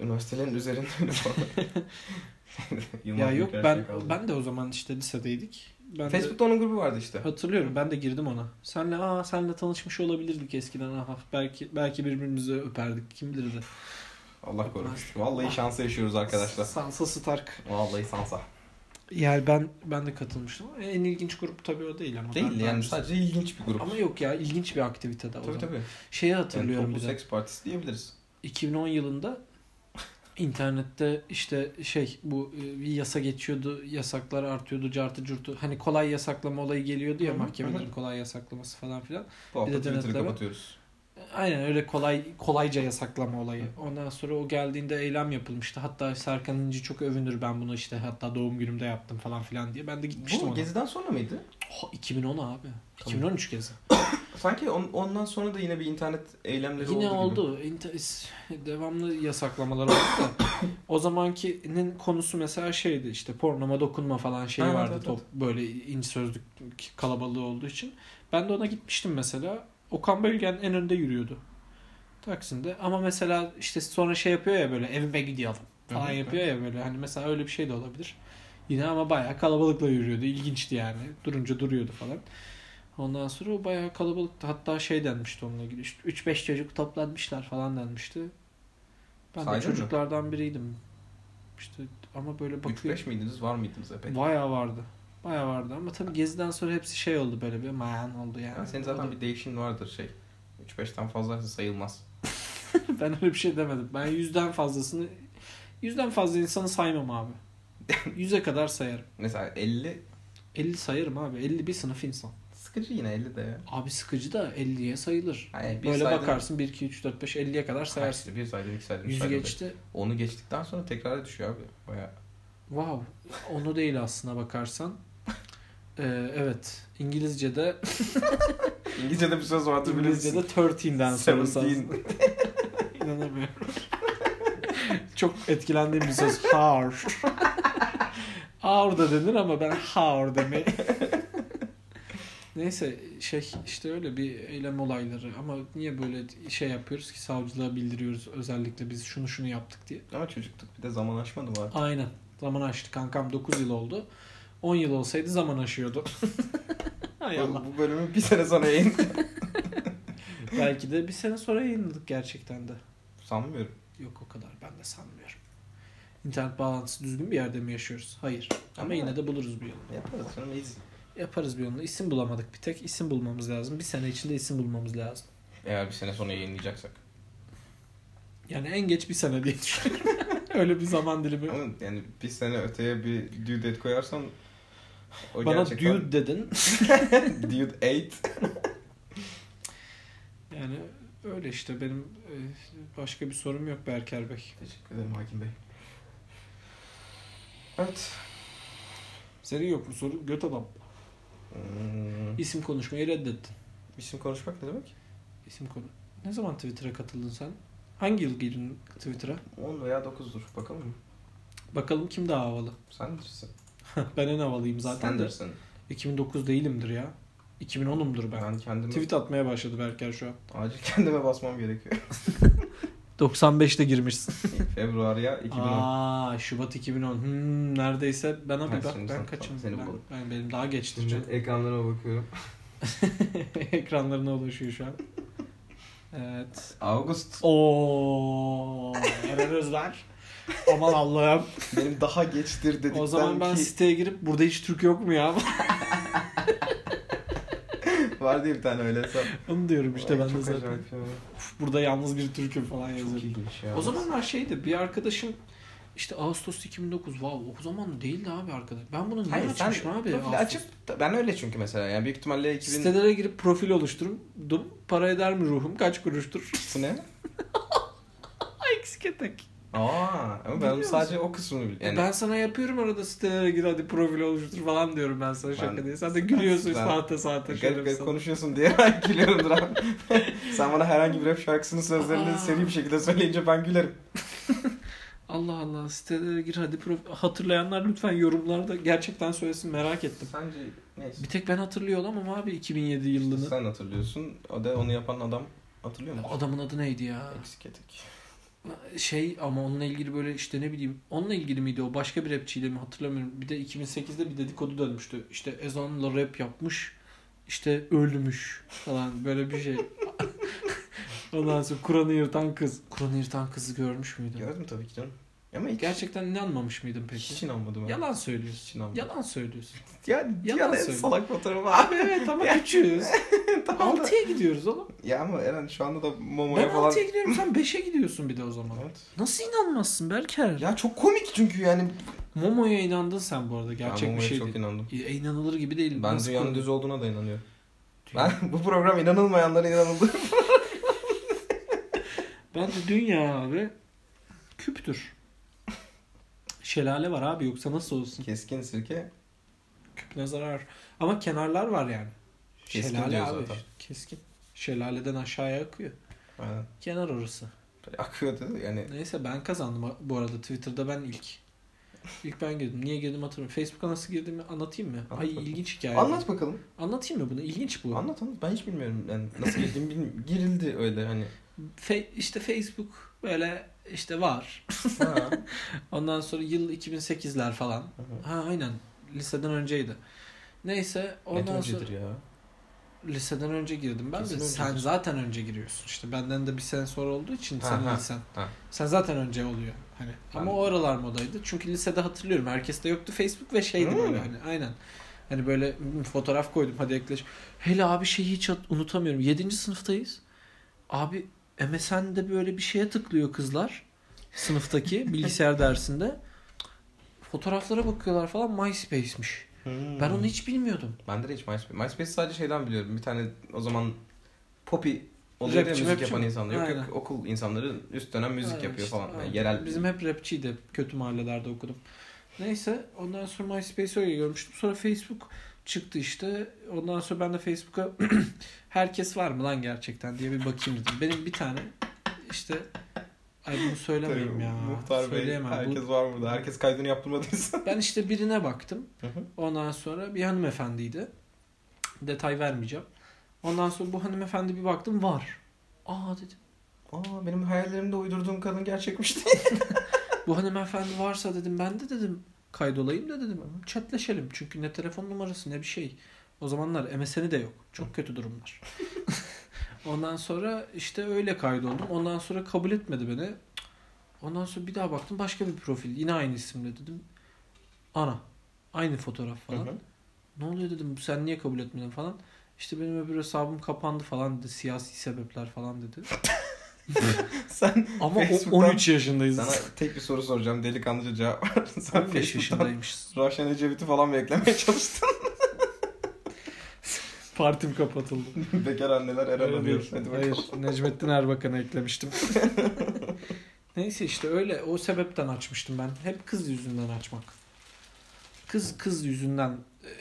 Speaker 2: Üniversitelerin üzerinde üniforma. Yılmaz
Speaker 1: ya yok
Speaker 2: Büyükerşek
Speaker 1: ben
Speaker 2: kaldı.
Speaker 1: ben de o zaman işte lisedeydik. Ben de
Speaker 2: Facebook'ta onun grubu vardı işte.
Speaker 1: hatırlıyorum ben de girdim ona. Senle aa senle tanışmış olabilirdik eskiden aha belki belki birbirimizi öperdik kim bilirdi.
Speaker 2: Allah korumuş. Vallahi şansa yaşıyoruz arkadaşlar.
Speaker 1: Sansa Stark.
Speaker 2: Vallahi sansa.
Speaker 1: Yani ben ben de katılmıştım. En ilginç grup tabii o değil ama.
Speaker 2: Değil
Speaker 1: ben- ben-
Speaker 2: yani sadece ilginç bir grup.
Speaker 1: Ama yok ya ilginç bir aktivite de o
Speaker 2: Tabii
Speaker 1: zaman.
Speaker 2: tabii.
Speaker 1: Şeyi
Speaker 2: Yani
Speaker 1: hatırlıyorum
Speaker 2: toplu
Speaker 1: bir de.
Speaker 2: seks partisi diyebiliriz.
Speaker 1: 2010 yılında internette işte şey bu e, bir yasa geçiyordu, yasaklar artıyordu, cartı curtu. Hani kolay yasaklama olayı geliyordu ya
Speaker 2: Hı hı,
Speaker 1: mahkemelerin
Speaker 2: hı hı.
Speaker 1: kolay yasaklaması falan filan.
Speaker 2: Bu hafta
Speaker 1: de
Speaker 2: Twitter'ı
Speaker 1: denetleme.
Speaker 2: kapatıyoruz.
Speaker 1: Aynen öyle kolay kolayca yasaklama olayı. Ondan sonra o geldiğinde eylem yapılmıştı. Hatta Serkan İnci çok övünür ben bunu işte hatta doğum günümde yaptım falan filan diye. Ben de gitmiştim
Speaker 2: Bu
Speaker 1: ona.
Speaker 2: geziden sonra mıydı?
Speaker 1: Oh, 2010 abi. 2013 gezi.
Speaker 2: Sanki on- ondan sonra da yine bir internet eylemleri
Speaker 1: Yine
Speaker 2: oldu. gibi.
Speaker 1: oldu. İnter- is- devamlı yasaklamalar oldu da. o zamankinin konusu mesela şeydi işte pornoma dokunma falan şeyi
Speaker 2: Evet,
Speaker 1: vardı
Speaker 2: evet,
Speaker 1: top böyle ince sözlük kalabalığı olduğu için. Ben de ona gitmiştim mesela. Okan Bölgen en önde yürüyordu. Taksim'de. Ama mesela işte sonra şey yapıyor ya böyle evime gidiyorum falan
Speaker 2: Evet,
Speaker 1: yapıyor ya böyle. Hani mesela öyle bir şey de olabilir. Yine ama bayağı kalabalıkla yürüyordu. İlginçti yani. Durunca duruyordu falan. Ondan sonra o bayağı kalabalıktı. Hatta şey denmişti onunla ilgili. Işte 3-5 çocuk toplanmışlar falan denmişti. Ben
Speaker 2: Saydın
Speaker 1: de
Speaker 2: mı?
Speaker 1: çocuklardan biriydim. İşte ama böyle bakıyor.
Speaker 2: 3-5 miydiniz? Var mıydınız epey?
Speaker 1: Bayağı vardı. Bayağı vardı ama tabii geziden sonra hepsi şey oldu böyle bir man oldu yani.
Speaker 2: Yani senin
Speaker 1: O da-
Speaker 2: zaten bir değişin vardır şey. 3-5'ten fazlaysa sayılmaz.
Speaker 1: ben öyle bir şey demedim. Ben yüzden fazlasını yüzden fazla insanı saymam abi. Yüze kadar sayarım.
Speaker 2: Mesela 50
Speaker 1: 50 sayarım abi. 50 bir sınıf insan.
Speaker 2: sıkıcı yine 50 de ya.
Speaker 1: Abi sıkıcı da 50'ye sayılır.
Speaker 2: Hayır, bir
Speaker 1: Böyle
Speaker 2: saydın-
Speaker 1: bakarsın 1, 2, 3, 4, 5, 50'ye kadar sayarsın.
Speaker 2: Sayarsın. Bir saydın, iki saydın, üç
Speaker 1: Yüzü
Speaker 2: saydın.
Speaker 1: geçti.
Speaker 2: Onu geçtikten sonra tekrar düşüyor abi. Baya
Speaker 1: Wow. Onu değil aslına bakarsan. Ee, evet. İngilizce'de
Speaker 2: İngilizce'de bir söz vardır bilir
Speaker 1: İngilizce'de
Speaker 2: misin?
Speaker 1: 13'den sonra
Speaker 2: Seventeen.
Speaker 1: sayarsın. İnanamıyorum. Çok etkilendiğim bir söz. Har. Ağır da denir ama ben har demeyi. Neyse şey işte öyle bir eylem olayları ama niye böyle şey yapıyoruz ki savcılığa bildiriyoruz özellikle biz şunu şunu yaptık diye.
Speaker 2: Ama çocukluk bir de zaman aşmadı var.
Speaker 1: Aynen. Zaman aştı kankam 9 yıl oldu. 10 yıl olsaydı zaman aşıyordu. Hay Allah.
Speaker 2: Bu, bu bölümü bir sene sonra yayın.
Speaker 1: Belki de bir sene sonra yayınladık gerçekten de.
Speaker 2: Sanmıyorum.
Speaker 1: Yok o kadar ben de sanmıyorum. İnternet bağlantısı düzgün bir yerde mi yaşıyoruz? Hayır. Ama,
Speaker 2: Ama-
Speaker 1: yine de buluruz bir yolunu.
Speaker 2: Yaparız canım easy.
Speaker 1: Yaparız bir yolunu. İsim bulamadık bir tek. İsim bulmamız lazım. Bir sene içinde isim bulmamız lazım.
Speaker 2: Eğer bir sene sonra yayınlayacaksak.
Speaker 1: Yani en geç bir sene diye düşünüyorum. Öyle bir zaman dilimi.
Speaker 2: Ama yani bir sene öteye bir due date koyarsan o
Speaker 1: Bana
Speaker 2: gerçekten...
Speaker 1: dude dedin.
Speaker 2: Dude. dude 8.
Speaker 1: Yani öyle işte benim e, başka bir sorum yok Berker Bey.
Speaker 2: Teşekkür ederim Hakim Bey. Evet.
Speaker 1: Senin yok mu soru? Göt adam.
Speaker 2: Hmm.
Speaker 1: İsim konuşmayı reddettin.
Speaker 2: İsim konuşmak ne demek?
Speaker 1: İsim konu. Ne zaman Twitter'a katıldın sen? Hangi yıl girdin Twitter'a?
Speaker 2: 10 veya 9'dur. Bakalım mı?
Speaker 1: Bakalım kim daha havalı.
Speaker 2: Sen bilirsin.
Speaker 1: ben en havalıyım
Speaker 2: Sen
Speaker 1: zaten de.
Speaker 2: bilirsin.
Speaker 1: 2009 değilimdir ya. 2010'umdur ben.
Speaker 2: Ben kendime,
Speaker 1: Tweet atmaya başladı Berker şu an.
Speaker 2: acil kendime basmam gerekiyor.
Speaker 1: 95'te girmişsin.
Speaker 2: Februarya 2010.
Speaker 1: Aa Şubat 2010. Hmm, neredeyse ben abi
Speaker 2: Ha,
Speaker 1: ben,
Speaker 2: şimdi
Speaker 1: ben
Speaker 2: sen-
Speaker 1: kaçım?
Speaker 2: seni
Speaker 1: ben,
Speaker 2: bulalım.
Speaker 1: ben- benim daha geçtir
Speaker 2: Şimdi
Speaker 1: canım.
Speaker 2: ekranlarıma bakıyorum.
Speaker 1: Ekranlarına ulaşıyor şu an. Evet.
Speaker 2: Ağustos.
Speaker 1: Oo, Eren Özler. Aman Allah'ım.
Speaker 2: Benim daha geçtir dedikten
Speaker 1: O zaman ben
Speaker 2: ki...
Speaker 1: siteye girip burada hiç Türk yok mu ya?
Speaker 2: Var diye bir tane öyle hesap.
Speaker 1: Onu diyorum işte
Speaker 2: Ay,
Speaker 1: ben de
Speaker 2: çok
Speaker 1: zaten.
Speaker 2: acayip ya.
Speaker 1: Uf, burada yalnız bir Türk'üm falan
Speaker 2: Çok
Speaker 1: yazıyorum.
Speaker 2: ilginç ya.
Speaker 1: O zamanlar şeydi bir arkadaşım işte Ağustos 2009 wow o zaman değildi abi arkadaş. Ben bunu niye
Speaker 2: Hayır sen
Speaker 1: açmışım abi?
Speaker 2: profili
Speaker 1: Ağustos?
Speaker 2: açıp ben öyle çünkü mesela yani büyük ihtimalle 2000
Speaker 1: Sitelere girip profil oluşturdum. Para eder mi ruhum? Kaç kuruştur?
Speaker 2: Bu ne?
Speaker 1: Eksik etek.
Speaker 2: Aa ama
Speaker 1: Biliyor
Speaker 2: ben
Speaker 1: musun?
Speaker 2: sadece o kısmını biliyorum. Yani
Speaker 1: Ben sana yapıyorum arada sitelere gir hadi profil oluştur falan diyorum ben sana şaka
Speaker 2: Ben-
Speaker 1: diye. Sen de gülüyorsun
Speaker 2: Ben-
Speaker 1: sahte sahte.
Speaker 2: garip garip
Speaker 1: şerefsiz.
Speaker 2: konuşuyorsun diye ben gülüyorumdur abi. Sen bana herhangi bir rap şarkısının sözlerini
Speaker 1: Aa.
Speaker 2: seri bir şekilde söyleyince ben gülerim.
Speaker 1: Allah Allah sitelere gir hadi profil. Hatırlayanlar lütfen yorumlarda gerçekten söylesin merak ettim.
Speaker 2: Sence neyse.
Speaker 1: Bir tek ben hatırlıyor olamam abi 2007 yılını.
Speaker 2: Sen hatırlıyorsun. O da onu yapan adam hatırlıyor musun?
Speaker 1: Adamın adı neydi ya?
Speaker 2: Eksik etek.
Speaker 1: Şey ama onunla ilgili böyle işte ne bileyim onunla ilgili miydi o başka bir rapçiyle mi hatırlamıyorum. Bir de 2008'de bir dedikodu dönmüştü. İşte ezanla rap yapmış işte ölmüş falan böyle bir şey. Ondan sonra Kur'an'ı yırtan kız. Kur'an'ı yırtan kızı görmüş müydün?
Speaker 2: Gördüm tabii ki canım. Ama hiç,
Speaker 1: Gerçekten inanmamış mıydın peki?
Speaker 2: hiç inanmadım. ben.
Speaker 1: Yalan söylüyorsun.
Speaker 2: Hiç inanmadım.
Speaker 1: Yalan söylüyorsun.
Speaker 2: Yani
Speaker 1: Yalan
Speaker 2: dünyanın en
Speaker 1: söylüyor.
Speaker 2: salak fotoğrafı
Speaker 1: Abi
Speaker 2: abi.
Speaker 1: evet ama küçüğüz.
Speaker 2: tamam da.
Speaker 1: 6'ya gidiyoruz oğlum.
Speaker 2: Ya ama Eren şu anda da
Speaker 1: Ben
Speaker 2: Momo'ya falan...
Speaker 1: 6'ya gidiyorum sen 5'e gidiyorsun bir de o zaman.
Speaker 2: Evet.
Speaker 1: Nasıl inanmazsın Berker?
Speaker 2: Ya çok komik çünkü yani.
Speaker 1: Momo'ya inandın sen bu arada. Gerçek
Speaker 2: ben
Speaker 1: bir
Speaker 2: Momo'ya
Speaker 1: şey
Speaker 2: çok
Speaker 1: değil.
Speaker 2: inandım.
Speaker 1: E, inanılır gibi değil.
Speaker 2: Ben
Speaker 1: Nasıl
Speaker 2: dünyanın
Speaker 1: konu-
Speaker 2: düz olduğuna da inanıyorum.
Speaker 1: Dünya-
Speaker 2: Ben bu program inanılmayanlara inanıldı.
Speaker 1: Bence dünya abi küptür. Şelale var abi yoksa nasıl olsun?
Speaker 2: Keskin sirke.
Speaker 1: Küpüne zarar. Ama kenarlar var yani.
Speaker 2: Keskin
Speaker 1: Şelale
Speaker 2: diyor
Speaker 1: abi.
Speaker 2: zaten.
Speaker 1: Keskin. Şelaleden aşağıya akıyor.
Speaker 2: Aynen.
Speaker 1: Kenar orası.
Speaker 2: Böyle Akıyordu yani.
Speaker 1: Neyse ben kazandım bu arada. Twitter'da ben ilk. İlk ben girdim. Niye girdim hatırlamıyorum. Facebook'a nasıl girdiğimi anlatayım mı?
Speaker 2: Anlat
Speaker 1: Ay
Speaker 2: bakalım.
Speaker 1: ilginç hikaye.
Speaker 2: Anlat bakalım.
Speaker 1: Anlatayım mı bunu? İlginç bu.
Speaker 2: Anlat anlat. Ben hiç bilmiyorum. Yani nasıl girdiğimi bilmiyorum. Girildi öyle hani.
Speaker 1: Fe- işte Facebook böyle işte var.
Speaker 2: Ha.
Speaker 1: Ondan sonra yıl 2008'ler falan. Ha aynen. Liseden önceydi. Neyse
Speaker 2: Net
Speaker 1: ondan sonra
Speaker 2: öncedir ya.
Speaker 1: liseden önce girdim ben
Speaker 2: Kesin
Speaker 1: de.
Speaker 2: öncedir.
Speaker 1: Sen zaten önce giriyorsun. İşte benden de bir sene sonra olduğu için
Speaker 2: Ha,
Speaker 1: sen
Speaker 2: ha,
Speaker 1: lisen.
Speaker 2: ha.
Speaker 1: Sen zaten önce oluyor. Hani ama
Speaker 2: Ben-
Speaker 1: o aralar modaydı. Çünkü lisede hatırlıyorum. Herkeste yoktu Facebook ve şeydi
Speaker 2: Hmm.
Speaker 1: böyle hani aynen. Hani böyle hmm, fotoğraf koydum hadi ekleş. Hele abi şeyi hiç at- unutamıyorum. 7. sınıftayız. Abi MSN'de böyle bir şeye tıklıyor kızlar. Sınıftaki bilgisayar dersinde. Fotoğraflara bakıyorlar falan MySpace'miş. Ben
Speaker 2: Hmm.
Speaker 1: onu hiç bilmiyordum.
Speaker 2: Ben de hiç MySpace. MySpace sadece şeyden biliyorum. Bir tane o zaman Poppy oluyor ya
Speaker 1: Rapçi,
Speaker 2: müzik
Speaker 1: rapçi
Speaker 2: yapan
Speaker 1: mi?
Speaker 2: insanlar. Yok
Speaker 1: Aynen.
Speaker 2: yok okul insanları üst dönem müzik
Speaker 1: Aynen
Speaker 2: yapıyor
Speaker 1: işte,
Speaker 2: falan. Yani
Speaker 1: aynen.
Speaker 2: yerel
Speaker 1: Bizim hep rapçiydi. Kötü mahallelerde okudum. Neyse ondan sonra MySpace'i öyle görmüştüm. Sonra Facebook çıktı işte. Ondan sonra ben de Facebook'a herkes var mı lan gerçekten diye bir bakayım dedim. Benim bir tane işte ay bunu söylemiyorum
Speaker 2: Tabii,
Speaker 1: ya.
Speaker 2: Muhtar Bey
Speaker 1: Söyleyemem. Bu-
Speaker 2: herkes var burada. Herkes kaydını yaptırmadıysa.
Speaker 1: Ben işte birine baktım. Ondan sonra bir hanımefendiydi. Detay vermeyeceğim. Ondan sonra bu hanımefendi bir baktım var. Aa dedim.
Speaker 2: Aa benim hayallerimde uydurduğum kadın gerçekmiş değil.
Speaker 1: Bu hani hanımefendi varsa dedim ben de dedim kaydolayım da dedim chatleşelim. Çünkü ne telefon numarası ne bir şey. O zamanlar MSN'i de yok. Çok kötü durumlar. Ondan sonra işte öyle kaydoldum. Ondan sonra kabul etmedi beni. Ondan sonra bir daha baktım başka bir profil. Yine aynı isimle dedim. Ana. Aynı fotoğraf falan. Ne oluyor dedim sen niye kabul etmedin falan. İşte benim öbür hesabım kapandı falan dedi. Siyasi sebepler falan dedi.
Speaker 2: Sen
Speaker 1: Ama o-
Speaker 2: Facebook'tan
Speaker 1: 13 yaşındayız.
Speaker 2: sana tek bir soru soracağım. Delikanlıca cevap ver. Sen
Speaker 1: 15
Speaker 2: Facebook'tan
Speaker 1: yaşındaymışız.
Speaker 2: Ravşan Ecevit'i falan beklemeye çalıştın.
Speaker 1: Partim kapatıldı.
Speaker 2: Bekar anneler Eren
Speaker 1: Öyle
Speaker 2: arıyor.
Speaker 1: değil.
Speaker 2: Hadi
Speaker 1: Hayır,
Speaker 2: bakalım.
Speaker 1: Necmettin Erbakan'ı eklemiştim. Neyse işte öyle o sebepten açmıştım ben. Hep kız yüzünden açmak. Kız kız yüzünden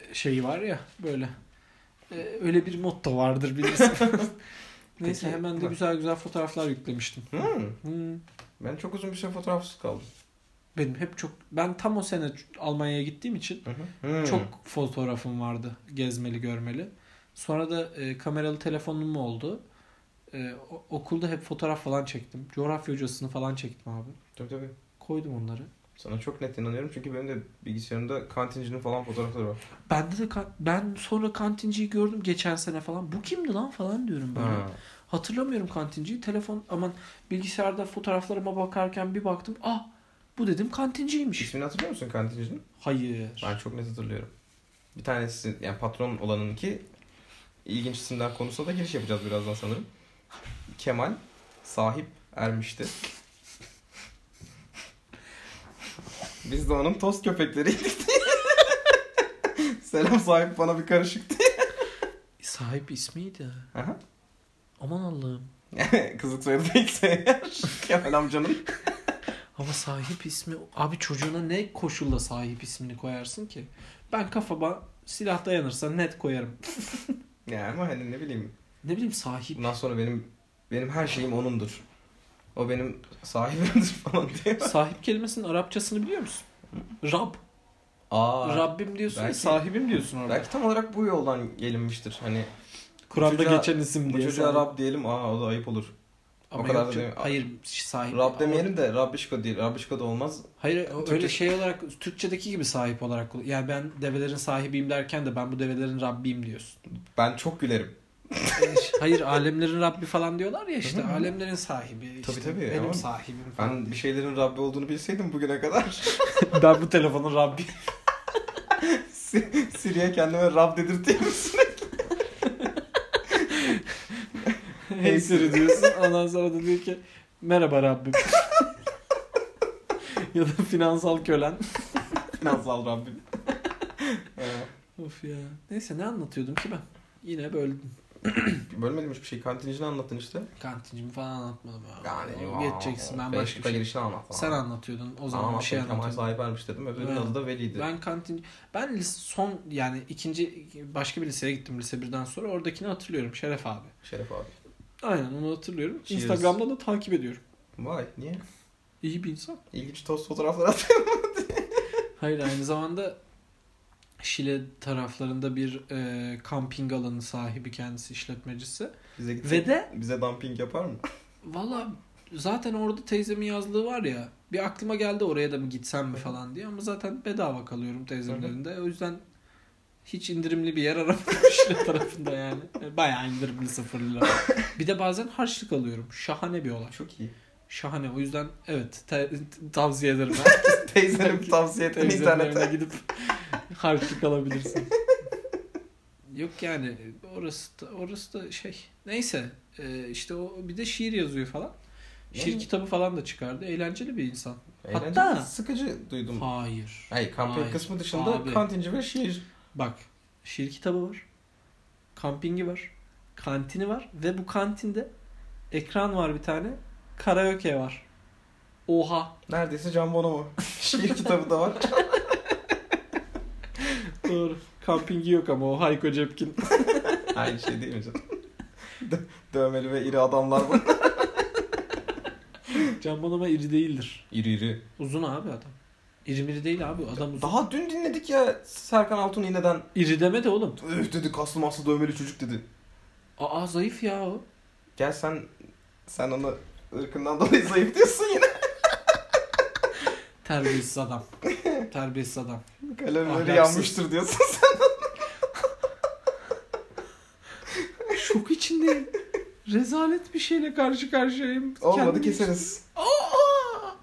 Speaker 1: e, şeyi var ya böyle Ee, öyle bir motto vardır bilirsin. Neyse
Speaker 2: Peki,
Speaker 1: hemen de
Speaker 2: bak.
Speaker 1: güzel güzel fotoğraflar yüklemiştim.
Speaker 2: Hmm.
Speaker 1: Hmm.
Speaker 2: Ben çok uzun bir süre fotoğrafsız kaldım.
Speaker 1: Benim hep çok ben tam o sene Almanya'ya gittiğim için
Speaker 2: Hmm.
Speaker 1: çok fotoğrafım vardı gezmeli görmeli. Sonra da e, kameralı telefonum oldu. E, o- okulda hep fotoğraf falan çektim. Coğrafya hocasını falan çektim abi.
Speaker 2: Tabii tabii.
Speaker 1: Koydum onları.
Speaker 2: Sana çok net inanıyorum çünkü benim de bilgisayarımda kantincinin falan fotoğrafları var.
Speaker 1: Bende de kan- ben sonra kantinciyi gördüm geçen sene falan. Bu kimdi lan falan diyorum böyle.
Speaker 2: Ha.
Speaker 1: Hatırlamıyorum kantinciyi. Telefon aman bilgisayarda fotoğraflarıma bakarken bir baktım. Ah bu dedim kantinciymiş.
Speaker 2: İsmini hatırlıyor musun kantincinin?
Speaker 1: Hayır.
Speaker 2: Ben çok net hatırlıyorum. Bir tanesi yani patron olanın ki ilginç isimler konusuna da giriş yapacağız birazdan sanırım. Kemal sahip ermişti. Biz de onun tost köpekleriydik. Selam sahip bana bir karışıktı.
Speaker 1: Sahip ismiydi.
Speaker 2: Aha.
Speaker 1: Aman Allah'ım.
Speaker 2: Kızlık soyadı değilse eğer Kemal amcanın.
Speaker 1: Ama sahip ismi... Abi çocuğuna ne koşulla sahip ismini koyarsın ki? Ben kafama silah dayanırsa net koyarım.
Speaker 2: Ya ama hani ne bileyim.
Speaker 1: Ne bileyim sahip.
Speaker 2: Bundan sonra benim benim her şeyim onundur. O benim sahibimdir falan diye.
Speaker 1: sahip kelimesinin Arapçasını biliyor musun? Rab.
Speaker 2: Aa.
Speaker 1: Rabbim diyorsun ya,
Speaker 2: belki-
Speaker 1: sahibim diyorsun orada.
Speaker 2: Belki tam olarak bu yoldan gelinmiştir. Hani
Speaker 1: Kur'an'da
Speaker 2: çocuğa-
Speaker 1: geçen isim
Speaker 2: bu
Speaker 1: diye.
Speaker 2: çocuğa
Speaker 1: sana-
Speaker 2: Rab diyelim. Aa o da ayıp olur.
Speaker 1: Ama
Speaker 2: o kadar da
Speaker 1: yok canım,
Speaker 2: değil.
Speaker 1: Hayır sahip.
Speaker 2: Rab demeyelim de Rabbişko değil. Rabbişko da olmaz.
Speaker 1: Hayır öyle
Speaker 2: Türkçe-
Speaker 1: şey olarak Türkçedeki gibi sahip olarak kullan- yani ben develerin sahibiyim derken de ben bu develerin Rabbiyim diyorsun.
Speaker 2: Ben çok gülerim.
Speaker 1: Yani ş- Hayır alemlerin Rabbi falan diyorlar ya işte
Speaker 2: Hı hı.
Speaker 1: alemlerin sahibi işte
Speaker 2: Tabii, tabii,
Speaker 1: benim
Speaker 2: ama
Speaker 1: sahibim falan.
Speaker 2: Ben bir şeylerin Rabbi olduğunu bilseydim bugüne kadar
Speaker 1: ben bu telefonun Rabbi.
Speaker 2: Sir- Siri'ye kendime Rab dedirteyim.
Speaker 1: hey Siri diyorsun. Ondan sonra da diyor ki merhaba Rabbim. ya da finansal kölen.
Speaker 2: Finansal Rabbim.
Speaker 1: Of ya. Neyse ne anlatıyordum ki ben? Yine böldüm.
Speaker 2: Bölmedim hiçbir şey. Kantinicini anlattın işte.
Speaker 1: Kantincimi falan anlatmadım abi.
Speaker 2: Yani
Speaker 1: O geçeceksin ben başka bir
Speaker 2: Beşiktaş'a
Speaker 1: şey.
Speaker 2: girişini anlat.
Speaker 1: Sen anlatıyordun o zaman bir şey
Speaker 2: Kemal
Speaker 1: anlatıyordun.
Speaker 2: sahip ermiş dedim. Öbürünün
Speaker 1: Evet.
Speaker 2: adı da Veli'ydi.
Speaker 1: Ben kantin ben lis- son yani ikinci başka bir liseye gittim lise birden sonra oradakini hatırlıyorum Şeref abi.
Speaker 2: Şeref abi.
Speaker 1: Aynen onu hatırlıyorum.
Speaker 2: Cheers.
Speaker 1: Instagram'dan da takip ediyorum.
Speaker 2: Vay niye?
Speaker 1: İyi bir insan.
Speaker 2: İlginç tost fotoğrafları at.
Speaker 1: Hayır aynı zamanda Şile taraflarında bir e, kamping alanı sahibi kendisi işletmecisi.
Speaker 2: Bize gitsek,
Speaker 1: Ve de
Speaker 2: bize dumping yapar mı?
Speaker 1: valla zaten orada teyzemin yazlığı var ya bir aklıma geldi oraya da mı gitsem mi falan diye ama zaten bedava kalıyorum teyzemin
Speaker 2: Hı hı.
Speaker 1: elinde. O yüzden hiç indirimli bir yer aramıyorum Şile tarafında yani. E, Bayağı indirimli sıfırlı. Bir de bazen harçlık alıyorum. Şahane bir olay.
Speaker 2: Çok iyi.
Speaker 1: Şahane. O yüzden evet te- t- tavsiye ederim. Ben
Speaker 2: Teyzenin tavsiye ettiğini
Speaker 1: teyzemin
Speaker 2: internete.
Speaker 1: evine gidip harçlık alabilirsin. Yok yani orası da, orası da şey. Neyse e, işte o bir de şiir yazıyor falan. Şiir
Speaker 2: Yani-
Speaker 1: kitabı falan da çıkardı. Eğlenceli bir insan.
Speaker 2: Eğlenceli,
Speaker 1: Hatta-
Speaker 2: sıkıcı duydum.
Speaker 1: Hayır.
Speaker 2: Hayır kampanya
Speaker 1: Hayır,
Speaker 2: kısmı dışında
Speaker 1: abi.
Speaker 2: kantinci ve şiir.
Speaker 1: Bak şiir kitabı var. Kampingi var. Kantini var. Ve bu kantinde ekran var bir tane. Karaoke var. Oha.
Speaker 2: Neredeyse Can Bonomo. şiir kitabı da var.
Speaker 1: Doğru. Kampingi yok ama o Hayko Cepkin.
Speaker 2: Aynı şey değil mi canım? Dö- Dövmeli ve iri adamlar var.
Speaker 1: Can Bonomo iri değildir.
Speaker 2: iri iri.
Speaker 1: Uzun abi adam. İri miri değil abi adam uzun.
Speaker 2: Daha dün dinledik ya Serkan Altun iğneden.
Speaker 1: İri deme de oğlum.
Speaker 2: Öf dedi kaslı maslı dövmeli çocuk dedi.
Speaker 1: Aa zayıf ya o.
Speaker 2: Gel sen sen onu ırkından dolayı zayıf diyorsun yine.
Speaker 1: Terbiyesiz adam. Terbiyesiz adam.
Speaker 2: Kalemleri
Speaker 1: Ahlaksız.
Speaker 2: yanmıştır diyorsun sen.
Speaker 1: Şok içindeyim. Rezalet bir şeyle karşı karşıyayım.
Speaker 2: Olmadı
Speaker 1: Kendimi-
Speaker 2: keseriz.
Speaker 1: Aa!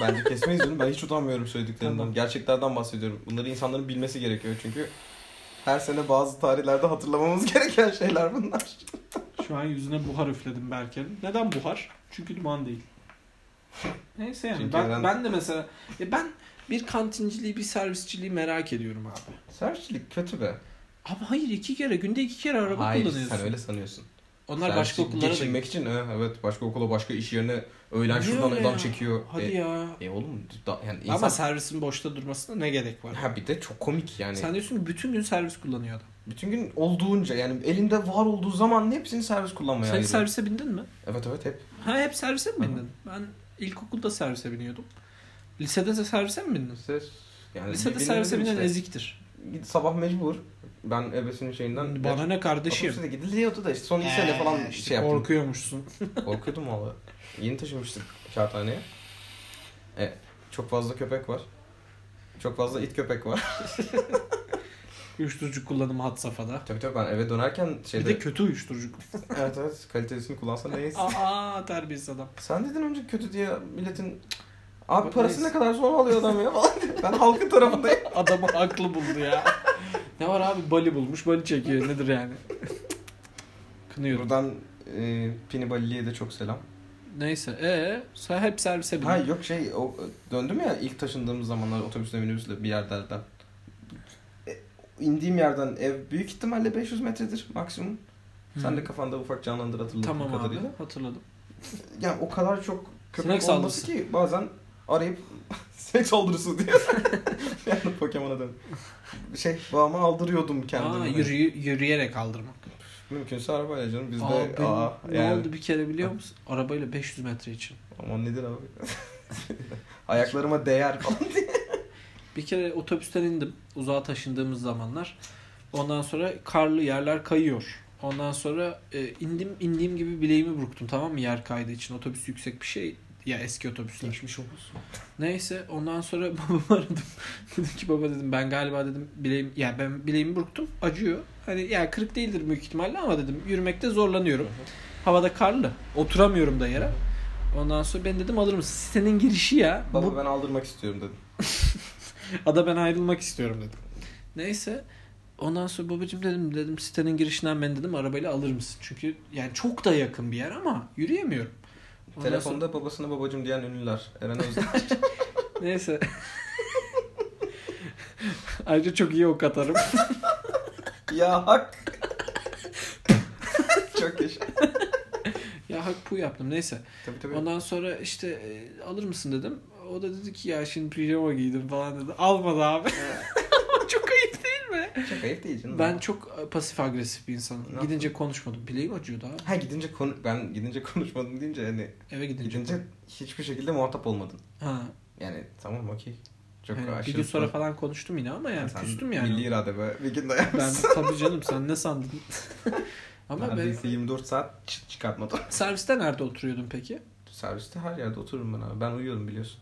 Speaker 2: Bence kesmeyiz canım. Ben hiç utanmıyorum söylediklerimden.
Speaker 1: Tamam.
Speaker 2: Gerçeklerden bahsediyorum. Bunları insanların bilmesi gerekiyor çünkü her sene bazı tarihlerde hatırlamamız gereken şeyler bunlar.
Speaker 1: Şu an yüzüne buhar üfledim Berker'in. Neden buhar? Çünkü duman değil. Neyse yani
Speaker 2: Çünkü
Speaker 1: ben,
Speaker 2: neden-
Speaker 1: ben de mesela ya ben bir kantinciliği bir servisçiliği merak ediyorum abi.
Speaker 2: Servisçilik kötü be.
Speaker 1: Ama hayır iki kere günde iki kere araba
Speaker 2: Hayır
Speaker 1: kullanıyorsun.
Speaker 2: sen öyle sanıyorsun.
Speaker 1: Onlar başka
Speaker 2: Servisçilik
Speaker 1: okullara da
Speaker 2: Geçinmek için e, evet başka okula başka iş yerine Öğlen
Speaker 1: Niye
Speaker 2: şuradan
Speaker 1: öyle
Speaker 2: adam
Speaker 1: ya?
Speaker 2: çekiyor.
Speaker 1: Hadi
Speaker 2: e,
Speaker 1: ya.
Speaker 2: e oğlum da, yani
Speaker 1: Ama
Speaker 2: insan...
Speaker 1: servisin boşta durmasına ne gerek var?
Speaker 2: Ha bir de çok komik yani.
Speaker 1: Sen diyorsun ki bütün gün servis kullanıyor adam.
Speaker 2: Bütün gün olduğunca yani elinde var olduğu zaman hepsini servis kullanmaya
Speaker 1: Sen hiç
Speaker 2: ayırıyor.
Speaker 1: servise bindin mi?
Speaker 2: Evet evet hep.
Speaker 1: Ha hep servise mi
Speaker 2: Hı hı.
Speaker 1: bindin? Ben ilkokulda servise biniyordum. Lisede de servise mi bindin?
Speaker 2: Ses. Yani
Speaker 1: Lisede
Speaker 2: birbirine
Speaker 1: servise binen
Speaker 2: işte.
Speaker 1: eziktir.
Speaker 2: Git sabah mecbur. Ben ebesinin şeyinden.
Speaker 1: Bana şey- ne kardeşim?
Speaker 2: Otobüse de gidiliyordu da işte son liseyle
Speaker 1: Ee,
Speaker 2: falan
Speaker 1: işte
Speaker 2: şey yaptım.
Speaker 1: Korkuyormuşsun.
Speaker 2: Korkuyordum valla. Yeni taşınmıştık kağıthaneye. E, çok fazla köpek var. Çok fazla it köpek var.
Speaker 1: Uyuşturucu kullanımı had safhada.
Speaker 2: tabii tabii ben eve dönerken
Speaker 1: Bir
Speaker 2: şeyde...
Speaker 1: de kötü uyuşturucu.
Speaker 2: evet evet kalitelisini kullansa neyse.
Speaker 1: Aa terbiyesiz adam.
Speaker 2: Sen dedin önce kötü diye milletin... Abi
Speaker 1: Bak
Speaker 2: parası
Speaker 1: neyse.
Speaker 2: ne kadar sonra alıyor adam ya falan. ben halkın tarafındayım.
Speaker 1: Adamı haklı buldu ya. ne var abi bali bulmuş bali çekiyor nedir yani. Kınıyorum.
Speaker 2: Buradan e, Pini Balili'ye de çok selam.
Speaker 1: Neyse ee sen hep servise bindin.
Speaker 2: Ha yok şey o, döndüm ya ilk taşındığımız zamanlar otobüsle minibüsle bir yerlerden. E, indiğim yerden ev büyük ihtimalle 500 metredir maksimum.
Speaker 1: Hı.
Speaker 2: Sen de kafanda ufak canlandır hatırladığım
Speaker 1: Tamam abi
Speaker 2: kadarıyla.
Speaker 1: hatırladım.
Speaker 2: Yani o kadar çok köpek
Speaker 1: Sinek
Speaker 2: olması
Speaker 1: saldırısı.
Speaker 2: ki bazen arayıp seks saldırısı diye. yani Pokemon'a dön. Şey babama aldırıyordum kendimi.
Speaker 1: Aa, yürüyü- yürüyerek aldırmak.
Speaker 2: Mümkünse arabayla canım bizde.
Speaker 1: Aa,
Speaker 2: Aa,
Speaker 1: benim- ne
Speaker 2: yani.
Speaker 1: oldu bir kere biliyor musun? Arabayla 500 metre için.
Speaker 2: Aman nedir abi? Ayaklarıma değer falan.
Speaker 1: Bir kere otobüsten indim uzağa taşındığımız zamanlar. Ondan sonra karlı yerler kayıyor. Ondan sonra e, indim indiğim gibi bileğimi burktum tamam mı yer kaydığı için. Otobüs yüksek bir şey ya eski otobüsler.
Speaker 2: Geçmiş olsun.
Speaker 1: Neyse ondan sonra babamı aradım. dedim ki baba dedim ben galiba dedim bileğim ya ben bileğimi burktum acıyor. Hani ya kırık değildir büyük ihtimalle ama dedim yürümekte zorlanıyorum. Havada karlı. Oturamıyorum da yere. Ondan sonra ben dedim alır mısın? Sitenin girişi ya. Bu-
Speaker 2: Baba ben aldırmak istiyorum dedim.
Speaker 1: Ada ben ayrılmak istiyorum dedim. Neyse ondan sonra babacım dedim dedim sitenin girişinden ben dedim arabayla alır mısın? Çünkü yani çok da yakın bir yer ama yürüyemiyorum. Ondan
Speaker 2: Telefonda babasına babacım diyen ünlüler. Eren Özden.
Speaker 1: sonra- neyse. Ayrıca çok iyi ok atarım.
Speaker 2: ya hak. Çok yaşa.
Speaker 1: ya hak pu yaptım neyse.
Speaker 2: Tabii tabii.
Speaker 1: Ondan sonra işte e, alır mısın dedim. O da dedi ki ya şimdi pijama giydim falan dedi. Almadı abi. çok ayıp değil mi?
Speaker 2: Çok ayıp değil canım.
Speaker 1: Ben çok e, pasif agresif bir
Speaker 2: Ne
Speaker 1: insanım.
Speaker 2: yaptın?
Speaker 1: Gidince konuşmadım. Bileğim acıyordu abi.
Speaker 2: Ha gidince konu ben gidince konuşmadım deyince hani
Speaker 1: Eve gidince.
Speaker 2: gidince hiçbir şekilde muhatap olmadın.
Speaker 1: Ha,
Speaker 2: Yani tamam okey. Çok
Speaker 1: Yani Hani bir
Speaker 2: aşırı.
Speaker 1: gün sonra falan konuştum yine ama yani
Speaker 2: Sen
Speaker 1: küstüm yani.
Speaker 2: Milli irade be. Bir gün dayan.
Speaker 1: Ben tabii canım sen ne sandın? ama ben,
Speaker 2: Neredeyse 24 saat çıt çıkartmadım.
Speaker 1: serviste nerede oturuyordun peki?
Speaker 2: Serviste her yerde otururum ben abi. Ben uyuyorum biliyorsun.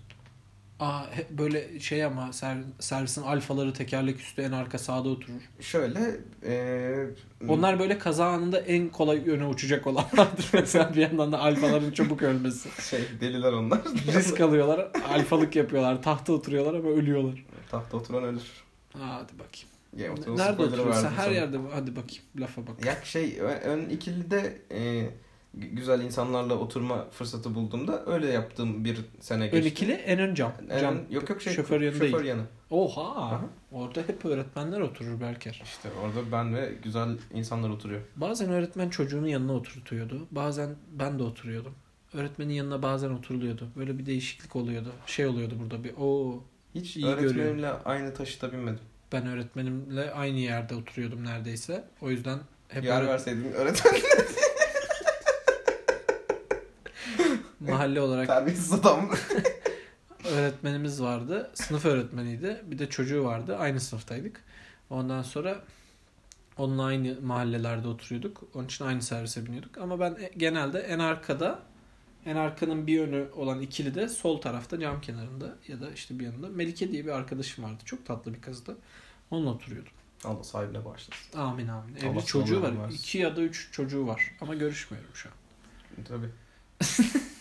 Speaker 1: Aa he- böyle şey ama ser- servisin alfaları tekerlek üstü en arka sağda oturur.
Speaker 2: Şöyle eee
Speaker 1: Onlar böyle kaza anında en kolay yöne uçacak olanlardır mesela bir yandan da alfaların çabuk ölmesi.
Speaker 2: şey deliler onlar.
Speaker 1: Risk alıyorlar, alfalık yapıyorlar, tahta oturuyorlar ama ölüyorlar.
Speaker 2: Tahta oturan ölür.
Speaker 1: Aa, hadi bakayım.
Speaker 2: Ya, oturan
Speaker 1: Nerede
Speaker 2: spoiler'ı
Speaker 1: oturuyorsun?
Speaker 2: verdim
Speaker 1: Her
Speaker 2: sana.
Speaker 1: yerde hadi bakayım lafa bak.
Speaker 2: Ya şey ö- ön ikilide e, gü- güzel insanlarla oturma fırsatı bulduğumda öyle yaptığım bir sene
Speaker 1: Ön
Speaker 2: geçti.
Speaker 1: ikili en ön cam.
Speaker 2: En-
Speaker 1: cam.
Speaker 2: yok yok şey
Speaker 1: şoför yanı değil.
Speaker 2: yanı.
Speaker 1: Oha.
Speaker 2: Aha.
Speaker 1: Orada hep öğretmenler oturur Berker.
Speaker 2: İşte orada ben ve güzel insanlar oturuyor.
Speaker 1: Bazen öğretmen çocuğunun yanına oturtuyordu. Bazen ben de oturuyordum. Öğretmenin yanına bazen oturuluyordu. Böyle bir değişiklik oluyordu. Şey oluyordu burada bir o
Speaker 2: Hiç
Speaker 1: İyi
Speaker 2: öğretmenimle
Speaker 1: görüyorum.
Speaker 2: aynı taşıta binmedim.
Speaker 1: ben öğretmenimle aynı yerde oturuyordum neredeyse. O yüzden hep
Speaker 2: Yer
Speaker 1: öğret-
Speaker 2: verseydin öğretmen
Speaker 1: mahalle olarak
Speaker 2: terbiyesiz adam.
Speaker 1: öğretmenimiz vardı. Sınıf öğretmeniydi. Bir de çocuğu vardı. Aynı sınıftaydık. Ondan sonra onunla aynı mahallelerde oturuyorduk. Onun için aynı servise biniyorduk. Ama ben e- genelde en arkada en arkanın bir yönü olan ikili de sol tarafta cam kenarında ya da işte bir yanında Melike diye bir arkadaşım vardı. Çok tatlı bir kızdı. Onunla oturuyordum.
Speaker 2: Allah sahibine bağışlasın.
Speaker 1: Amin amin.
Speaker 2: Allah
Speaker 1: Evli çocuğu var.
Speaker 2: sağlığı versin.
Speaker 1: İki ya da üç çocuğu var. Ama görüşmüyorum şu an.
Speaker 2: Tabii.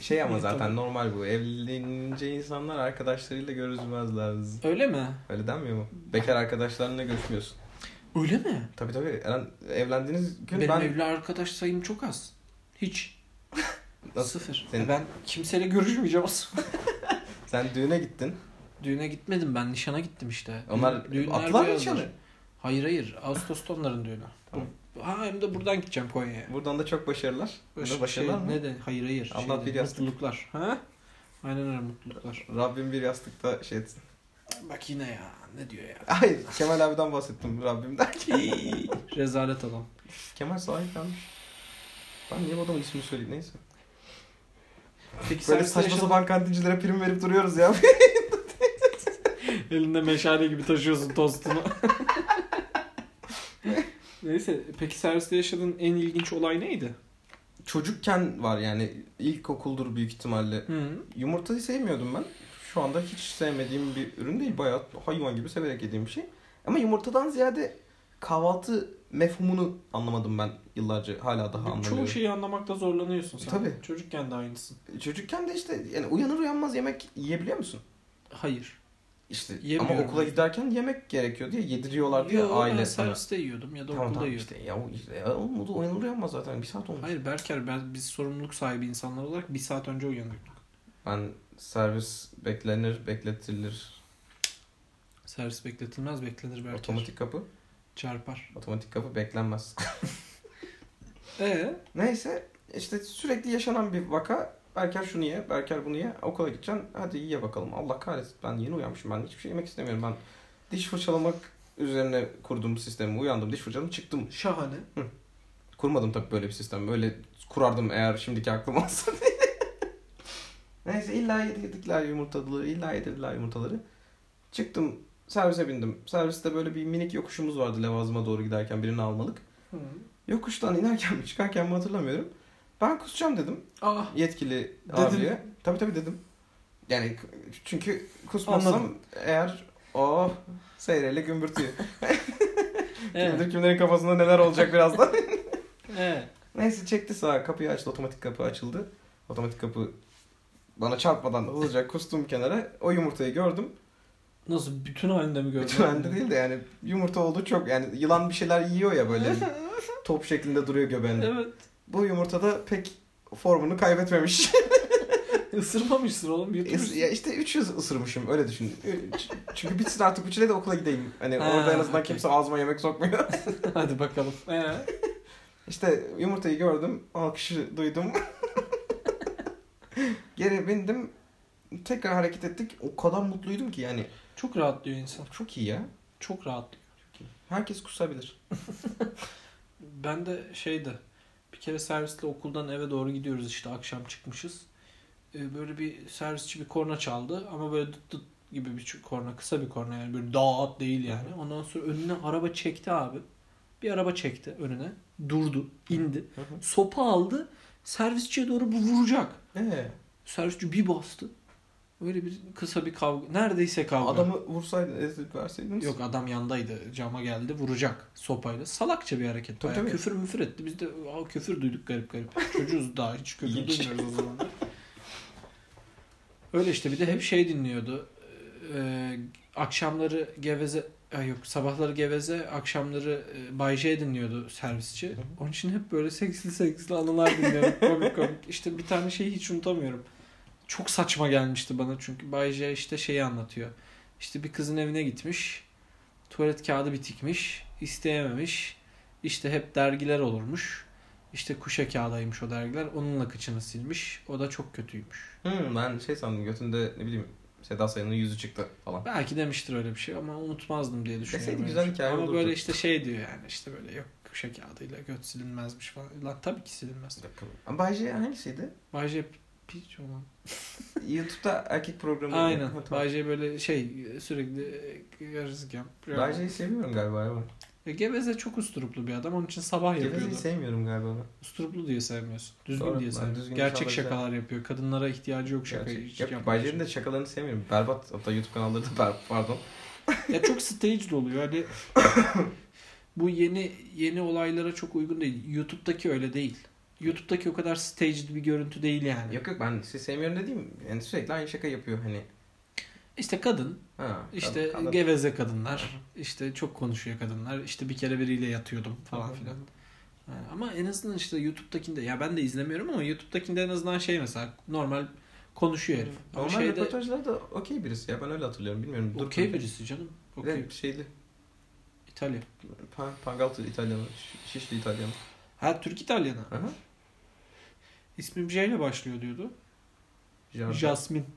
Speaker 2: Şey ama
Speaker 1: Evet,
Speaker 2: zaten normal bu. Evlenince insanlar arkadaşlarıyla görüşmezler.
Speaker 1: Öyle mi?
Speaker 2: Öyle denmiyor mu? Bekar arkadaşlarınla görüşmüyorsun.
Speaker 1: Öyle mi?
Speaker 2: Tabii tabii. Eren, evlendiğiniz gün
Speaker 1: Benim
Speaker 2: ben...
Speaker 1: evli arkadaş sayım çok az. Hiç.
Speaker 2: Nasıl?
Speaker 1: Sıfır. E
Speaker 2: Senin-
Speaker 1: Ben kimseyle görüşmeyeceğim aslında.
Speaker 2: Sen düğüne gittin.
Speaker 1: Düğüne gitmedim ben nişana gittim işte.
Speaker 2: Onlar
Speaker 1: Düğünler
Speaker 2: atlar
Speaker 1: bu
Speaker 2: mı
Speaker 1: yazdır.
Speaker 2: nişanı?
Speaker 1: Hayır hayır Ağustos'ta onların düğünü.
Speaker 2: Tamam.
Speaker 1: Ha hem de buradan gideceğim Konya'ya.
Speaker 2: Buradan da çok başarılar.
Speaker 1: Baş-
Speaker 2: Başarılar mı?
Speaker 1: şey Ne de hayır hayır.
Speaker 2: Allah
Speaker 1: Şey,
Speaker 2: bir yastık.
Speaker 1: Mutluluklar. Ha? Aynen öyle mutluluklar.
Speaker 2: Rabbim bir yastıkta şey etsin.
Speaker 1: Bak yine ya ne diyor ya.
Speaker 2: Hayır Kemal abiden bahsettim Rabbimden.
Speaker 1: Rezalet adam.
Speaker 2: Kemal sahip kalmış. Ben niye bu adamın ismini söyleyeyim neyse.
Speaker 1: Peki
Speaker 2: Böyle
Speaker 1: sen
Speaker 2: saçma
Speaker 1: yaşadın-
Speaker 2: sapan kantincilere prim verip duruyoruz ya.
Speaker 1: Elinde meşale gibi taşıyorsun tostunu. Neyse peki serviste yaşadığın en ilginç olay neydi?
Speaker 2: Çocukken var yani ilkokuldur büyük ihtimalle.
Speaker 1: Hı.
Speaker 2: Yumurtayı sevmiyordum ben. Şu anda hiç sevmediğim bir ürün değil. Bayağı hayvan gibi severek yediğim bir şey. Ama yumurtadan ziyade kahvaltı mefhumunu anlamadım ben yıllarca. Hala daha anlamıyorum.
Speaker 1: Çoğu şeyi anlamakta zorlanıyorsun sen.
Speaker 2: Tabii.
Speaker 1: Çocukken de aynısın.
Speaker 2: Çocukken de işte yani uyanır uyanmaz yemek yiyebiliyor musun?
Speaker 1: Hayır.
Speaker 2: İşte
Speaker 1: Yemiyorum.
Speaker 2: ama okula giderken yemek gerekiyor diye yediriyorlar diye
Speaker 1: Yo, ben
Speaker 2: aile sana.
Speaker 1: serviste yiyordum ya da
Speaker 2: Tamam
Speaker 1: okulda
Speaker 2: tamam
Speaker 1: yiyordum.
Speaker 2: işte ya, o- işte, ya oğlum, o da uyanır uyanmaz zaten bir saat olmuş.
Speaker 1: Hayır Berker ben, biz sorumluluk sahibi insanlar olarak bir saat önce uyanıyorduk.
Speaker 2: Ben servis beklenir, bekletilir.
Speaker 1: Servis bekletilmez beklenir Berker.
Speaker 2: Otomatik kapı.
Speaker 1: Çarpar.
Speaker 2: Otomatik kapı beklenmez.
Speaker 1: Ee,
Speaker 2: Neyse işte sürekli yaşanan bir vaka. Berker şunu ye, Berker bunu ye. Okula gideceksin. Hadi ye bakalım. Allah kahretsin. Ben yeni uyanmışım. Ben hiçbir şey yemek istemiyorum. Ben diş fırçalamak üzerine kurduğum sistemi uyandım. Diş fırçaladım çıktım.
Speaker 1: şahane.
Speaker 2: Kurmadım tabii böyle bir sistem. Böyle kurardım eğer şimdiki aklım olsa diye. Neyse illa yedirdiler yumurtaları, illa yedirdiler yumurtaları. Çıktım, servise bindim. Serviste böyle bir minik yokuşumuz vardı Levazım'a doğru giderken birini almalık.
Speaker 1: Hı.
Speaker 2: Yokuştan inerken mi çıkarken mi hatırlamıyorum. Ben kusacağım dedim
Speaker 1: Ah
Speaker 2: yetkili
Speaker 1: Dedin.
Speaker 2: abiye. Tabii tabii dedim. Yani k- çünkü kusmazsam
Speaker 1: Anladım.
Speaker 2: eğer o seyreyle gümbürtüyor.
Speaker 1: Ee,
Speaker 2: Kimdir kimlerin kafasında neler olacak birazdan.
Speaker 1: ee.
Speaker 2: Neyse çekti sağa kapıyı açtı otomatik kapı açıldı. Otomatik kapı bana çarpmadan hızlıca kustum kenara. O yumurtayı gördüm.
Speaker 1: Nasıl bütün halinde mi gördün?
Speaker 2: Bütün halinde değil de yani yumurta oldu çok yani yılan bir şeyler yiyor ya böyle top şeklinde duruyor göbeğinde.
Speaker 1: Evet.
Speaker 2: Bu yumurtada pek formunu kaybetmemiş.
Speaker 1: Isırmamışsın oğlum. Yutmuşsun.
Speaker 2: ya işte 300 ısırmışım öyle düşün. Üç- Çünkü bitsin artık üçüne de okula gideyim. Hani
Speaker 1: Ha,
Speaker 2: orada en azından
Speaker 1: okey.
Speaker 2: kimse ağzıma yemek sokmuyor.
Speaker 1: Hadi bakalım. Ee?
Speaker 2: İşte yumurtayı gördüm, alkışı duydum. Geri bindim. Tekrar hareket ettik. O kadar mutluydum ki yani.
Speaker 1: Çok rahatlıyor insan.
Speaker 2: Çok iyi ya.
Speaker 1: Çok rahatlıyor.
Speaker 2: Herkes kusabilir.
Speaker 1: Ben de şeydi. Bir kere servisle okuldan eve doğru gidiyoruz işte akşam çıkmışız. Ee, Böyle bir servisçi bir korna çaldı ama böyle dıt dıt gibi bir çı- korna kısa bir korna yani böyle dağıt değil yani. Ondan sonra önüne araba çekti abi. Bir araba çekti önüne. Durdu, indi.
Speaker 2: Hı hı.
Speaker 1: Sopa aldı. Servisçiye doğru bu vuracak.
Speaker 2: Ee,
Speaker 1: Servisçi bir bastı. Böyle bir kısa bir kavga. Neredeyse kavga.
Speaker 2: adamı vursaydın, ezip verseydiniz.
Speaker 1: Yok adam yandaydı. Cama geldi vuracak sopayla. Salakça bir hareket.
Speaker 2: Tabii,
Speaker 1: Bayağı
Speaker 2: tabii.
Speaker 1: Küfür müfür etti. Biz de "Aa, küfür duyduk garip garip. Çocuğuz daha hiç küfür
Speaker 2: İlginç.
Speaker 1: duymuyoruz o zaman. Öyle işte bir de hep şey dinliyordu. Ee, akşamları geveze Ay yok sabahları geveze akşamları e, Bay J dinliyordu servisçi. Onun için hep böyle seksli seksli anılar dinliyorduk komik komik. İşte bir tane şeyi hiç unutamıyorum. Çok saçma gelmişti bana çünkü Bay J işte şeyi anlatıyor. İşte bir kızın evine gitmiş. Tuvalet kağıdı bitikmiş. isteyememiş. İşte hep dergiler olurmuş. İşte kuşa kağıdaymış o dergiler. Onunla kıçını silmiş. O da çok kötüymüş.
Speaker 2: Hmm, ben şey sandım götünde ne bileyim Seda Sayan'ın yüzü çıktı falan.
Speaker 1: Belki demiştir öyle bir şey ama unutmazdım diye düşünüyorum.
Speaker 2: Deseydi
Speaker 1: öyle
Speaker 2: güzel
Speaker 1: bir şey.
Speaker 2: hikaye
Speaker 1: Ama
Speaker 2: olurdu.
Speaker 1: böyle işte şey diyor yani işte böyle yok kuşa kağıdıyla göt silinmezmiş falan. Lan tabii ki silinmez.
Speaker 2: Ama Bay J hangisiydi?
Speaker 1: Bay J piç olan.
Speaker 2: YouTube'da erkek programı.
Speaker 1: Aynen.
Speaker 2: Ha, tamam.
Speaker 1: Bay J böyle şey sürekli e, yarızlık yapıyor.
Speaker 2: Bay J'yi seviyorum galiba ya ben.
Speaker 1: E, Geveze çok usturuplu bir adam. Onun için sabah
Speaker 2: Geveze'yi
Speaker 1: yapıyordu.
Speaker 2: sevmiyorum galiba ben.
Speaker 1: Usturuplu diye sevmiyorsun. Düzgün
Speaker 2: Doğru,
Speaker 1: diye
Speaker 2: ben
Speaker 1: sevmiyorsun.
Speaker 2: düzgün
Speaker 1: Gerçek
Speaker 2: insanları
Speaker 1: şakalar yapıyor. Kadınlara ihtiyacı yok şaka
Speaker 2: Gerçek.
Speaker 1: hiç
Speaker 2: Yap,
Speaker 1: yapmıyor.
Speaker 2: Bay J'nin de şakalarını sevmiyorum. Berbat. Hatta YouTube kanalları da berbat. Pardon.
Speaker 1: Ya çok staged oluyor. Hani bu yeni yeni olaylara çok uygun değil. YouTube'daki öyle değil. YouTube'daki o kadar staged bir görüntü değil yani.
Speaker 2: Yok yok ben sizi sevmiyorum dediğim yani sürekli aynı şaka yapıyor hani.
Speaker 1: İşte kadın,
Speaker 2: Ha,
Speaker 1: işte
Speaker 2: tamam, anladım.
Speaker 1: geveze kadınlar, işte çok konuşuyor kadınlar, işte bir kere biriyle yatıyordum falan
Speaker 2: Tamam.
Speaker 1: filan. Yani ama en azından işte YouTube'dakinde ya ben de izlemiyorum ama YouTube'dakinde en azından şey mesela normal konuşuyor Şey herif. Ama
Speaker 2: Normal
Speaker 1: şeyde
Speaker 2: röportajlarda okey birisi ya ben öyle hatırlıyorum bilmiyorum. Dur
Speaker 1: okey
Speaker 2: bakayım.
Speaker 1: birisi canım.
Speaker 2: Bir
Speaker 1: Okey.
Speaker 2: de şeyli.
Speaker 1: E İtalya.
Speaker 2: Pa- Pangaltı İtalyanı. Şiş- Şişli İtalyanı.
Speaker 1: Ha Türk İtalyanı.
Speaker 2: Hı hı.
Speaker 1: İsmim J ile başlıyor diyordu.
Speaker 2: Jardin.
Speaker 1: Jasmine.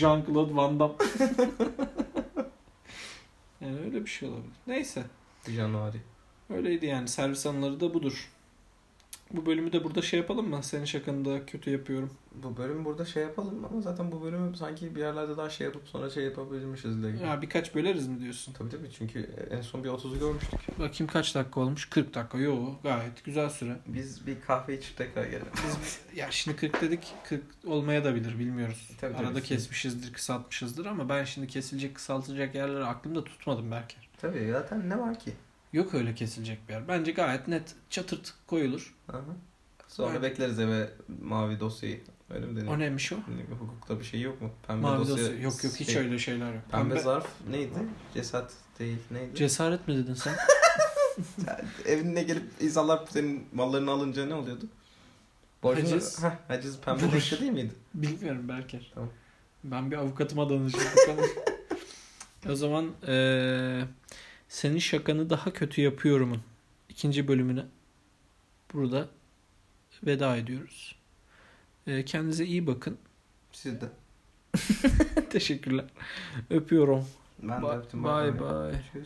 Speaker 1: Jean-Claude Van Damme. yani öyle bir şey olabilir. Neyse.
Speaker 2: Januari.
Speaker 1: Öyleydi yani. Servis anıları da budur. Bu bölümü de burada şey yapalım mı? Senin şakanı da kötü yapıyorum.
Speaker 2: Bu bölüm burada şey yapalım ama zaten bu bölümü sanki bir yerlerde daha şey yapıp sonra şey yapabilmişiz de.
Speaker 1: Ya birkaç böleriz mi diyorsun?
Speaker 2: Tabii tabii çünkü en son bir 30'u görmüştük.
Speaker 1: Bakayım kaç dakika olmuş? 40 dakika. Yo gayet güzel süre.
Speaker 2: Biz bir kahve içip tekrar gelelim.
Speaker 1: Biz, ya şimdi 40 dedik 40 olmaya da bilir bilmiyoruz.
Speaker 2: Tabii, tabii.
Speaker 1: Arada kesmişizdir kısaltmışızdır ama ben şimdi kesilecek kısaltılacak yerleri aklımda tutmadım Berker.
Speaker 2: Tabii zaten ne var ki?
Speaker 1: Yok öyle kesilecek bir yer. Bence gayet net çatırt koyulur.
Speaker 2: Aha. Sonra
Speaker 1: Evet.
Speaker 2: bekleriz eve mavi dosyayı. Öyle mi deniyor?
Speaker 1: O neymiş o?
Speaker 2: Bilmiyorum, Hukukta bir şey yok mu? Pembe
Speaker 1: Mavi
Speaker 2: dosya.
Speaker 1: dosya. Yok yok hiç
Speaker 2: şey-
Speaker 1: öyle şeyler yok.
Speaker 2: Pembe,
Speaker 1: Pembe-
Speaker 2: zarf neydi? Cesaret değil neydi?
Speaker 1: Cesaret mi dedin sen?
Speaker 2: Evine gelip insanlar senin mallarını alınca ne oluyordu?
Speaker 1: Haciz.
Speaker 2: Heh, haciz pembe
Speaker 1: Borç.
Speaker 2: dosya değil miydi?
Speaker 1: Bilmiyorum Berker.
Speaker 2: Tamam.
Speaker 1: Ben bir avukatıma danışayım. bakalım. o zaman eee, senin şakanı daha kötü yapıyorumun ikinci bölümüne burada veda ediyoruz. Eee, kendinize iyi bakın.
Speaker 2: Siz de.
Speaker 1: Teşekkürler. Öpüyorum.
Speaker 2: Ben de
Speaker 1: Ba-
Speaker 2: öptüm.
Speaker 1: bye
Speaker 2: bay.
Speaker 1: bye.
Speaker 2: Görüşürüz.